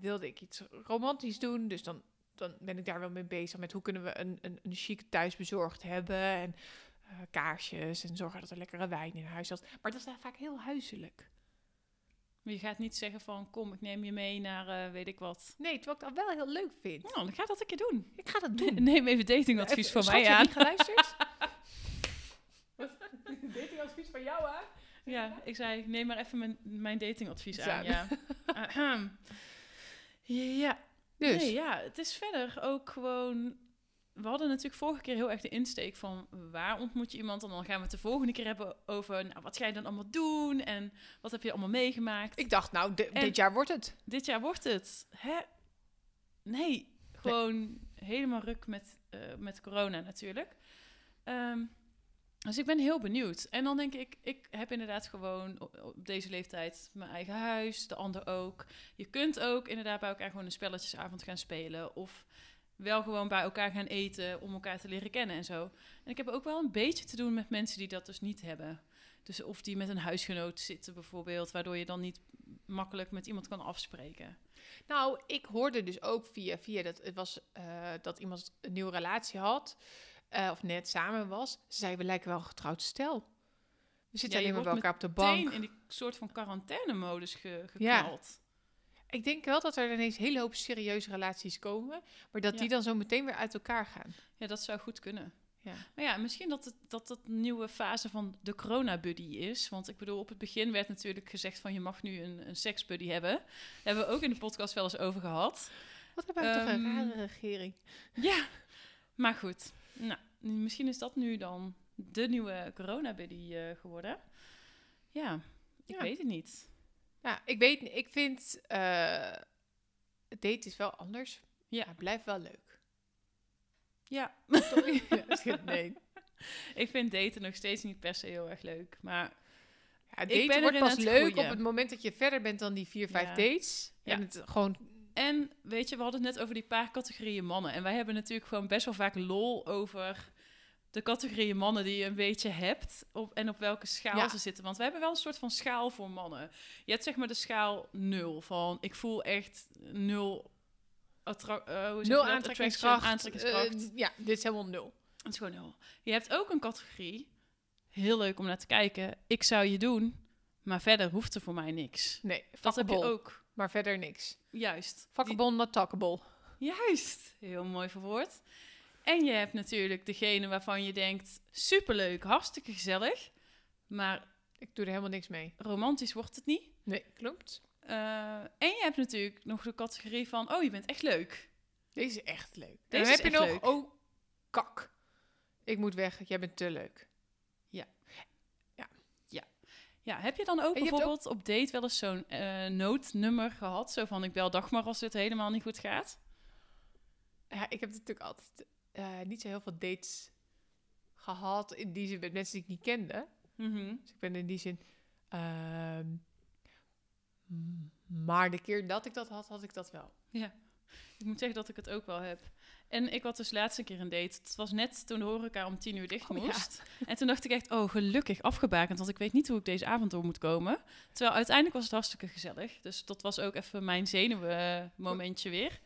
wilde ik iets romantisch doen. Dus dan, dan ben ik daar wel mee bezig met hoe kunnen we een, een, een chic thuis bezorgd hebben. En eh, kaarsjes en zorgen dat er lekkere wijn in huis zat. Maar dat is dan vaak heel huiselijk.
Maar je gaat niet zeggen van, kom, ik neem je mee naar eh, weet ik wat.
Nee, terwijl ik dat wel heel leuk vind.
Nou, dan ga dat een keer doen.
Ik ga dat doen.
Neem even datingadvies
Even-
voor
Schat,
mij
je hebt
aan.
niet geluisterd? Datingadvies van jou aan?
Ja, ik zei, neem maar even mijn, mijn datingadvies
Zo.
aan. Ja. Ahem. ja.
Dus.
Nee, ja, het is verder ook gewoon... We hadden natuurlijk vorige keer heel erg de insteek van waar ontmoet je iemand? En dan gaan we het de volgende keer hebben over nou, wat ga je dan allemaal doen en wat heb je allemaal meegemaakt.
Ik dacht, nou, di-
En-
dit jaar wordt het.
Dit jaar wordt het. Hè? Nee, gewoon helemaal ruk met, eh, met corona natuurlijk. Ehm, dus ik ben heel benieuwd. En dan denk ik, ik heb inderdaad gewoon op, op deze leeftijd mijn eigen huis, de ander ook. Je kunt ook inderdaad bij elkaar gewoon een spelletjesavond gaan spelen. Of wel gewoon bij elkaar gaan eten om elkaar te leren kennen en zo. En ik heb ook wel een beetje te doen met mensen die dat dus niet hebben. Dus of die met een huisgenoot zitten bijvoorbeeld, waardoor je dan niet makkelijk met iemand kan afspreken.
Nou, ik hoorde dus ook via, via dat het was eh, dat iemand een nieuwe relatie had. eh, of net samen was. Ze zei, we lijken wel een getrouwd stel. We zitten
Ja, je
alleen maar bij
wordt
elkaar op de
Teen
bank.
in die soort van quarantaine-modus ge-
Ja.
geknald.
Ik denk wel dat er ineens een hele hoop serieuze relaties komen. Maar dat
Ja.
die dan zo meteen weer uit elkaar gaan.
Ja. dat zou goed kunnen.
Ja.
Maar ja, misschien dat het, dat dat een nieuwe fase van de corona-buddy is. Want ik bedoel, op het begin werd natuurlijk gezegd van je mag nu een, een seksbuddy hebben. Daar hebben we ook in de podcast wel eens over gehad.
Wat hebben we toch een
Ehm,
rare regering.
Ja, maar goed. Nou, misschien is dat nu dan de nieuwe corona-buddy eh, geworden. Ja, ik
Ja.
weet het niet.
Ja, nou, ik weet niet. Ik vind, eh, het date is wel anders.
Ja.
Maar het blijft wel leuk.
Ja,
Ja, nee.
ik vind daten nog steeds niet per se heel erg leuk. Maar
Ja,
ben
daten wordt
erin
pas
aan het
leuk
groeien.
op het moment dat je verder bent dan die vier, vijf
Ja.
dates. En
Ja.
het gewoon
En weet je, we hadden het net over die paar categorieën mannen. En wij hebben natuurlijk gewoon best wel vaak lol over de categorieën mannen die je een beetje hebt. Op, en op welke schaal
Ja.
ze zitten. Want we hebben wel een soort van schaal voor mannen. Je hebt zeg maar de schaal nul. Van ik voel echt nul, attra- eh, hoe zeg je
Nul
dat?
aantrekkingskracht.
Attraction, aantrekkingskracht.
Eh, ja, dit is helemaal nul.
Het is gewoon heel. Je hebt ook een categorie. Heel leuk om naar te kijken. Ik zou je doen, maar verder hoeft er voor mij niks.
Nee,
Dat heb je
fuckable,
ook.
Maar verder niks.
Juist. Die-
Fuckable, not talkable.
Juist. Heel mooi verwoord. En je hebt natuurlijk degene waarvan je denkt, superleuk, hartstikke gezellig. Maar
Ik doe er helemaal niks mee.
romantisch wordt het niet.
Nee, klopt.
Eh, en je hebt natuurlijk nog de categorie van, oh, je bent echt leuk.
Deze is echt leuk.
Deze
en dan
is
heb je
echt
nog,
leuk.
oh, kak. Ik moet weg, jij bent te leuk.
Ja, heb je dan ook
En je hebt
bijvoorbeeld op date wel eens zo'n eh, noodnummer gehad? Zo van, ik bel Dagmar als het helemaal niet goed gaat.
Ja, ik heb natuurlijk altijd eh, niet zo heel veel dates gehad. In die zin met mensen die ik niet kende. Dus ik ben in die zin... ehm, m- maar de keer dat ik dat had, had ik dat wel.
Ik moet zeggen dat ik het ook wel heb. En ik had dus laatst een keer een date. Het was net toen de horeca om tien uur dicht
Oh, ja.
moest. En toen dacht ik echt, oh gelukkig afgebakend, want ik weet niet hoe ik deze avond door moet komen. Terwijl uiteindelijk was het hartstikke gezellig. Dus dat was ook even mijn zenuwen momentje weer.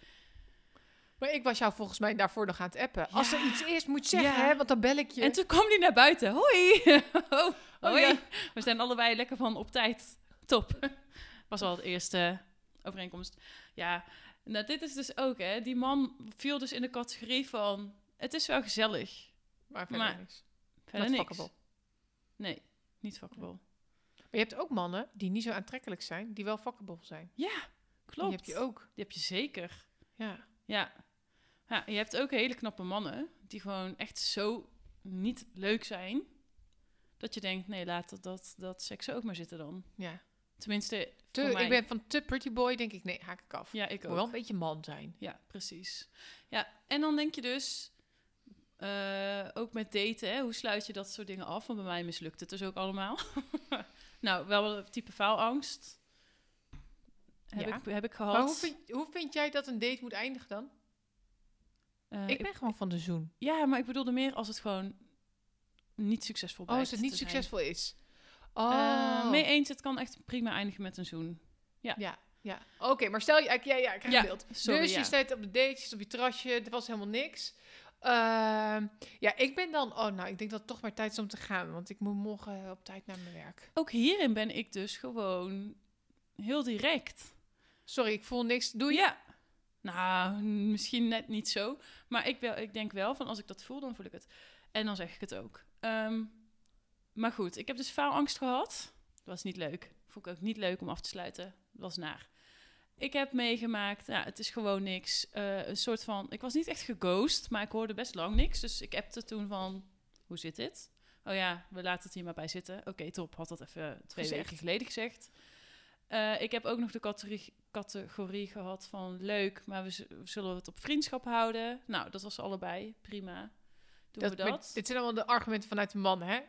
Maar ik was jou volgens mij daarvoor nog aan het appen. Als er iets is, moet zeggen,
Ja.
hè, want dan bel ik je.
En toen kwam die naar buiten. Hoi! Oh, hoi.
ja.
We zijn allebei lekker van op tijd. Top. Was al het eerste overeenkomst. Ja, nou dit is dus ook hè. Die man viel dus in de categorie van, het is wel gezellig.
maar verder
maar-
niks.
Verder
Not
niks.
fuckable.
Nee, niet fuckable.
Maar je hebt ook mannen die niet zo aantrekkelijk zijn, die wel fuckable zijn.
Ja, klopt.
Die heb je ook.
Die heb je zeker.
Ja.
Ja. ja. Je hebt ook hele knappe mannen die gewoon echt zo niet leuk zijn. Dat je denkt, nee, laat dat, dat, dat seks ook maar zitten dan.
ja.
Tenminste,
Te,
voor mij.
ik ben van te pretty boy, denk ik, nee, haak ik af.
Ja, ik
Moet wel
ook.
een beetje man zijn.
Ja, precies. Ja, en dan denk je dus... eh, ook met daten, hè, hoe sluit je dat soort dingen af? Want bij mij mislukt het dus ook allemaal. nou, wel een type faalangst. Heb,
Ja.
ik, heb ik gehad.
Maar hoe vind, hoe vind jij dat een date moet eindigen dan?
Eh,
ik ben gewoon van de zoen.
Ja, maar ik bedoelde meer als het gewoon niet succesvol
Oh,
blijft.
als het
te
niet
zijn.
succesvol is.
Eh,
Oh.
mee eens, het kan echt prima eindigen met een zoen.
Ja, ja. Oké, maar stel je... Ja, ja, ik krijg
Ja,
een beeld.
sorry,
dus
ja.
je staat op de date, je zit op je terrasje, er was helemaal niks. Ehm, ja, ik ben dan... Oh, nou, ik denk dat het toch maar tijd is om te gaan. Want ik moet morgen eh, op tijd naar mijn werk.
Ook hierin ben ik dus gewoon heel direct.
Sorry, ik voel niks. Doe je?
Ja. Nou, misschien net niet zo. Maar ik, wel, ik denk wel van als ik dat voel, dan voel ik het. En dan zeg ik het ook. Ehm, maar goed, ik heb dus faalangst gehad. Dat was niet leuk. Vond ik ook niet leuk om af te sluiten. Dat was naar. Ik heb meegemaakt, ja, het is gewoon niks. Eh, een soort van, ik was niet echt geghost, maar ik hoorde best lang niks. Dus ik appte toen van, hoe zit dit? Oh ja, we laten het hier maar bij zitten. Oké, top, had dat even twee
Gezegd.
weken geleden gezegd. Eh, ik heb ook nog de categorie, categorie gehad van leuk, maar we, z- we zullen het op vriendschap houden. Nou, dat was allebei prima. Doen we
maar
dat?
Dit zijn allemaal de argumenten vanuit de man, hè?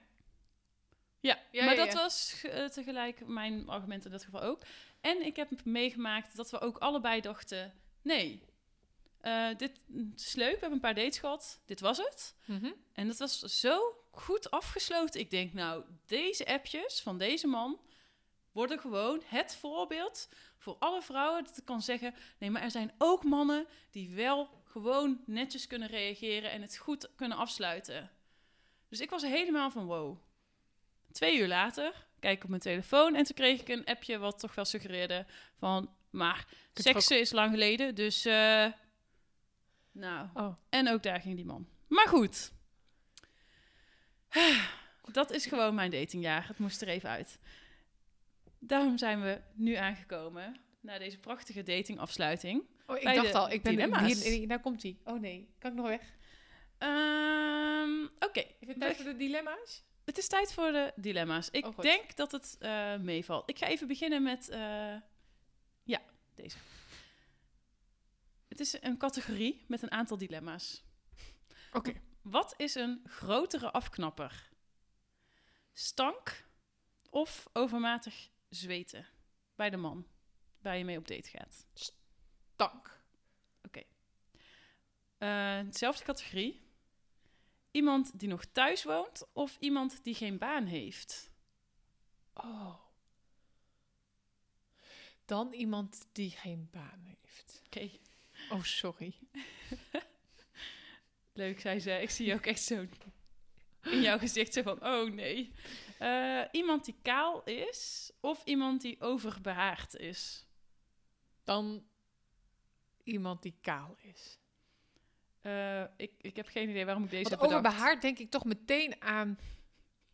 Ja,
Ja,
maar
ja,
dat
ja.
was eh, tegelijk mijn argument in dat geval ook. En ik heb meegemaakt dat we ook allebei dachten: nee, eh, dit het is leuk, we hebben een paar dates gehad, dit was het. En dat was zo goed afgesloten. Ik denk, nou, deze appjes van deze man worden gewoon het voorbeeld voor alle vrouwen dat ik kan zeggen: nee, maar er zijn ook mannen die wel gewoon netjes kunnen reageren en het goed kunnen afsluiten. Dus ik was helemaal van wow. Twee uur later kijk ik op mijn telefoon en toen kreeg ik een appje wat toch wel suggereerde van, maar
kunt er
seksen is lang geleden, dus eh, nou.
Oh.
En ook daar ging die man. Maar goed. Dat is gewoon mijn datingjaar. Het moest er even uit. Daarom zijn we nu aangekomen na deze prachtige datingafsluiting.
Oh, ik
Bij
dacht
de
al, ik ben...
dilemma's.
Hier, hier- daar komt hij. Oh nee, kan ik nog weg?
Ehm, Oké,
Is het
we-
tijd voor de dilemma's?
het is tijd voor de dilemma's. Ik
Oh, goed.
denk dat het eh, meevalt. Ik ga even beginnen met. eh, ja, deze. Het is een categorie met een aantal dilemma's.
Oké.
Wat is een grotere afknapper? Stank of overmatig zweten bij de man waar je mee op date gaat?
stank.
Eh, dezelfde categorie. Iemand die nog thuis woont of iemand die geen baan heeft.
Oh. Dan iemand die geen baan heeft.
Oké,
Oh, sorry.
leuk, zei ze. Ik zie je ook echt zo in jouw gezicht zo van, oh nee. Eh, iemand die kaal is of iemand die overbehaard is.
Dan iemand die kaal is.
Eh, ik, ik heb geen idee waarom ik deze
Want
heb bedacht.
overbehaard denk ik toch meteen aan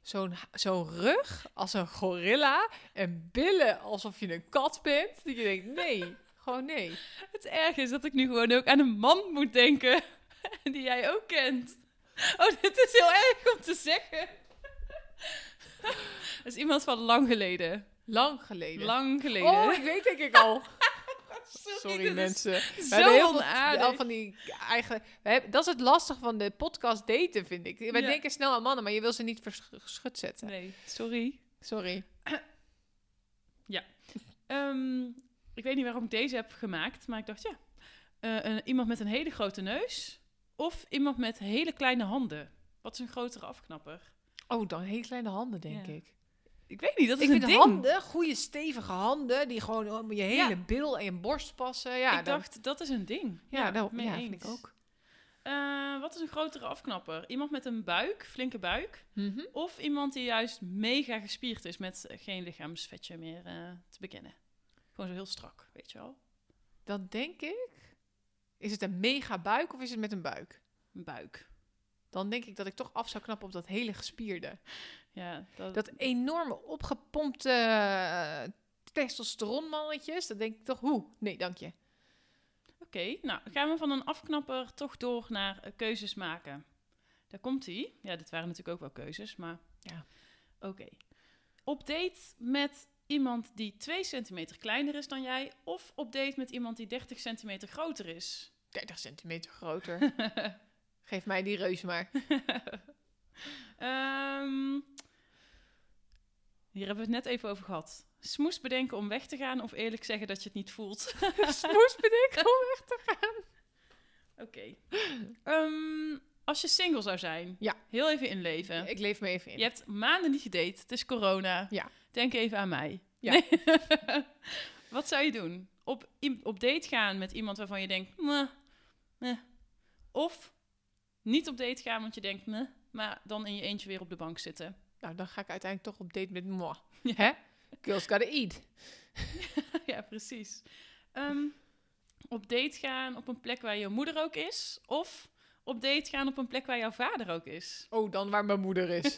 zo'n ha- zo'n rug als een gorilla en billen alsof je een kat bent. Dat je denkt, nee, gewoon nee.
Het erg is dat ik nu gewoon ook aan een man moet denken die jij ook kent. Oh, dit is heel erg om te zeggen. Dat is iemand van lang geleden.
Lang geleden.
Lang geleden.
Oh, ik weet denk ik al.
Sorry,
Sorry
dit is
mensen. We
Zo
hebben heel veel
onaardig.
al van die eigen. We hebben, dat is het lastig van de podcast daten, vind ik. Wij
Ja.
denken snel aan mannen, maar je wil ze niet verschut zetten.
Nee, sorry.
Sorry.
Ehm, ik weet niet waarom ik deze heb gemaakt, maar ik dacht ja. Eh, een- iemand met een hele grote neus of iemand met hele kleine handen. Wat is een grotere afknapper?
Oh, dan hele kleine handen, denk
Ja.
ik.
Ik weet niet, dat is
ik
een
vind
ding.
handen, goede stevige handen, die gewoon om je hele
Ja.
bil en je borst passen. Ja,
ik
dan-
dacht, dat is een ding.
ja, nou,
mee
ja,
eens.
vind ik ook.
Eh, wat is een grotere afknapper? Iemand met een buik, flinke buik?
Mhm.
Of iemand die juist mega gespierd is met eh, geen lichaamsvetje meer eh, te bekennen? Gewoon zo heel strak, weet je wel?
Dan denk ik. Is het een mega buik of is het met een buik?
Een buik.
Dan denk ik dat ik toch af zou knappen op dat hele gespierde.
Ja, dat,
Dat enorme opgepompte eh, testosteronmannetjes. Dat denk ik toch, hoe? Nee, dank je.
Oké, nou gaan we van een afknapper toch door naar eh, keuzes maken. Daar komt ie. Ja, dit waren natuurlijk ook wel keuzes, maar
Ja.
Oké. Op date met iemand die 2 centimeter kleiner is dan jij, of op date met iemand die 30 centimeter groter is.
30 centimeter groter. Geef mij die reus maar.
Ehm, hier hebben we het net even over gehad. Smoes bedenken om weg te gaan of eerlijk zeggen dat je het niet voelt.
Smoes bedenken om echt te gaan.
Oké. Ehm, als je single zou zijn,
Ja.
heel even inleven.
Ik leef me even in.
Je hebt maanden niet gedate, het is corona.
Ja.
Denk even aan mij.
Ja.
Nee. Wat zou je doen? Op, i- op date gaan met iemand waarvan je denkt, meh, meh. Of niet op date gaan, want je denkt, meh, maar dan in je eentje weer op de bank zitten.
Nou, dan ga ik uiteindelijk toch op date met moi. Hè? Girls gotta eat.
ja, precies. Ehm, op date gaan op een plek waar je moeder ook is. Of op date gaan op een plek waar jouw vader ook is.
Oh, dan waar mijn moeder is.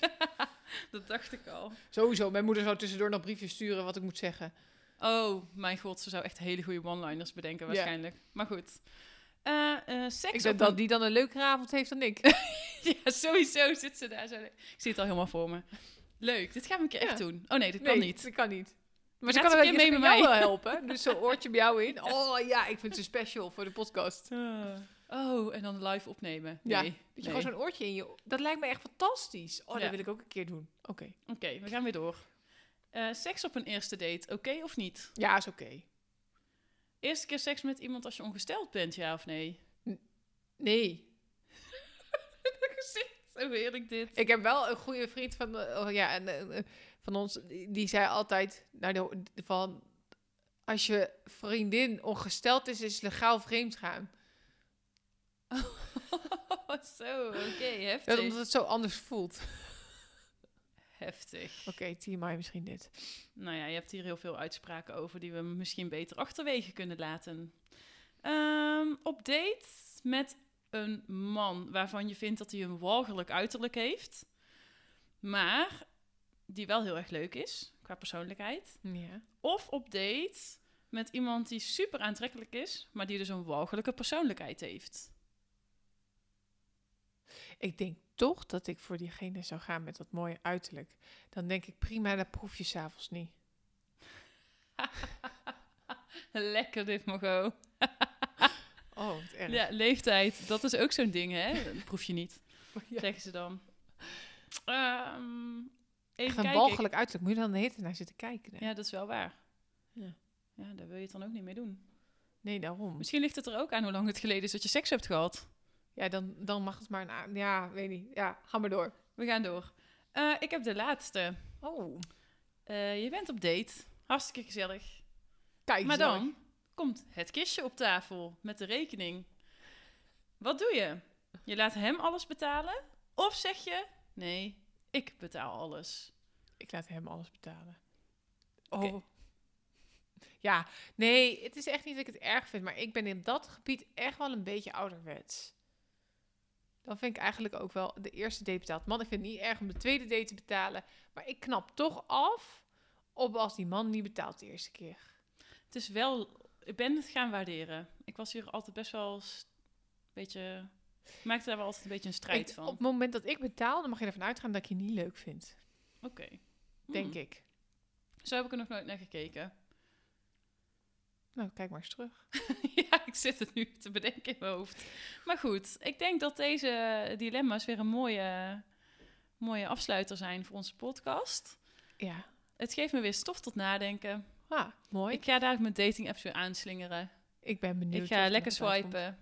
Dat dacht ik al.
Sowieso, mijn moeder zou tussendoor nog briefjes sturen wat ik moet zeggen.
Oh, mijn god, ze zou echt hele goede one-liners bedenken
Ja.
waarschijnlijk. Maar goed. Eh, eh, seks
Ik
op
denk dat
een-
die dan een leukere avond heeft dan ik.
Ja, sowieso zit ze daar zo. Ik zie het al helemaal voor me. Leuk, dit gaan we een keer echt
Ja.
doen. Oh nee, dat kan niet.
Dat kan niet. Maar ze
Laat
kan
ze
wel
een
je
keer
mee
mee
met
met
jou wel
mij.
helpen. Dus zo'n oortje bij jou in. Oh ja, ik vind ze special voor de podcast.
Oh, en dan live opnemen.
Ja,
Nee.
Dat je
nee.
gewoon zo'n oortje in je... Dat lijkt me echt fantastisch. Oh,
Ja.
dat wil ik ook een keer doen. Oké.
Oké, we gaan weer door. Eh, seks op een eerste date, oké of niet?
Ja, is oké.
Eerste keer seks met iemand als je ongesteld bent, ja of nee?
Nee,
Dat gezicht, zo heerlijk dit.
Ik heb wel een goede vriend van, eh, oh ja, en, eh, eh, van ons, die die zei altijd, nou, de- van, als je vriendin ongesteld is, is legaal vreemd gaan.
Oh, zo, oké,
Dat
heftig.
omdat het zo anders voelt.
Heftig.
Oké, TMI misschien dit.
Nou ja, je hebt hier heel veel uitspraken over die we misschien beter achterwege kunnen laten. Ehm, op date met een man waarvan je vindt dat hij een walgelijk uiterlijk heeft, maar die wel heel erg leuk is qua persoonlijkheid.
Ja.
Of op date met iemand die super aantrekkelijk is, maar die dus een walgelijke persoonlijkheid heeft.
Ik denk toch dat ik voor diegene zou gaan met dat mooie uiterlijk. Dan denk ik, prima, dat proef je s'avonds niet.
Lekker dit, Margot.
Oh, wat erg.
Ja, leeftijd, dat is ook zo'n ding, hè? Dat proef je niet,
Ja.
zeggen ze dan. Ehm,
Echt
even
een
kijken.
walgelijk uiterlijk. Moet je dan de hele tijd naar zitten kijken. hè?
Ja, dat is wel waar.
Ja.
Ja, daar wil je het dan ook niet mee doen.
Nee, daarom.
Misschien ligt het er ook aan hoe lang het geleden is dat je seks hebt gehad.
Ja, dan, dan mag het maar een a- Ja, weet niet. Ja, ga maar door.
We gaan door. Eh, ik heb de laatste.
Oh.
Eh, je bent op date. Hartstikke gezellig.
Kijk,
maar
zo.
dan komt het kistje op tafel met de rekening. Wat doe je? Je laat hem alles betalen? Of zeg je, nee, ik betaal alles.
Ik laat hem alles betalen.
Oké.
Oh. Ja, nee, het is echt niet dat ik het erg vind, maar ik ben in dat gebied echt wel een beetje ouderwets. Dan vind ik eigenlijk ook wel de eerste date betaald. Man, ik vind het niet erg om de tweede date te betalen, maar ik knap toch af op als die man niet betaalt de eerste keer.
Het is wel, ik ben het gaan waarderen. Ik was hier altijd best wel s- een beetje, ik maakte daar wel altijd een beetje een strijd
Ik-
van.
Op het moment dat ik betaal, dan mag je ervan uitgaan dat ik je niet leuk vind,
Oké.
denk
Hmm.
ik.
Zo heb ik er nog nooit naar gekeken. Oh,
Nou, kijk maar eens terug.
ja, ik zit het nu te bedenken in mijn hoofd. Maar goed, ik denk dat deze dilemma's weer een mooie, mooie afsluiter zijn voor onze podcast.
Ja,
Het geeft me weer stof tot nadenken.
ah, mooi.
Ik
Ik,
ga dadelijk mijn dating apps weer aanslingeren.
ben benieuwd.
ik
of
ga
er
lekker
nog wat uitkomt.
swipen.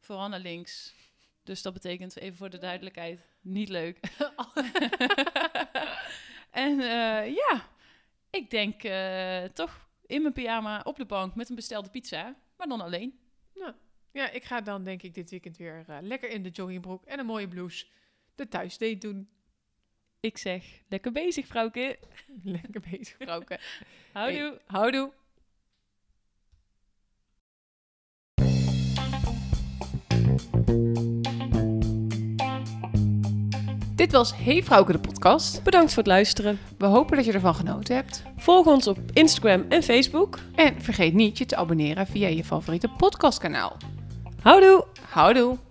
Vooral naar links. Dus dat betekent, even voor de duidelijkheid, niet leuk. en eh, ja, ik denk eh, toch in mijn pyjama op de bank met een bestelde pizza. Maar dan alleen.
Ja, ik ga dan denk ik dit weekend weer eh, lekker in de joggingbroek en een mooie blouse de thuisdate doen.
Ik zeg, lekker bezig, vrouwke.
Lekker bezig, vrouwke.
Houdoe.
Houdoe. Dit was Hey Vrouwke de podcast.
Bedankt voor het luisteren.
We hopen dat je ervan genoten hebt.
Volg ons op Instagram en Facebook.
En vergeet niet je te abonneren via je favoriete podcastkanaal.
Houdoe!
Houdoe.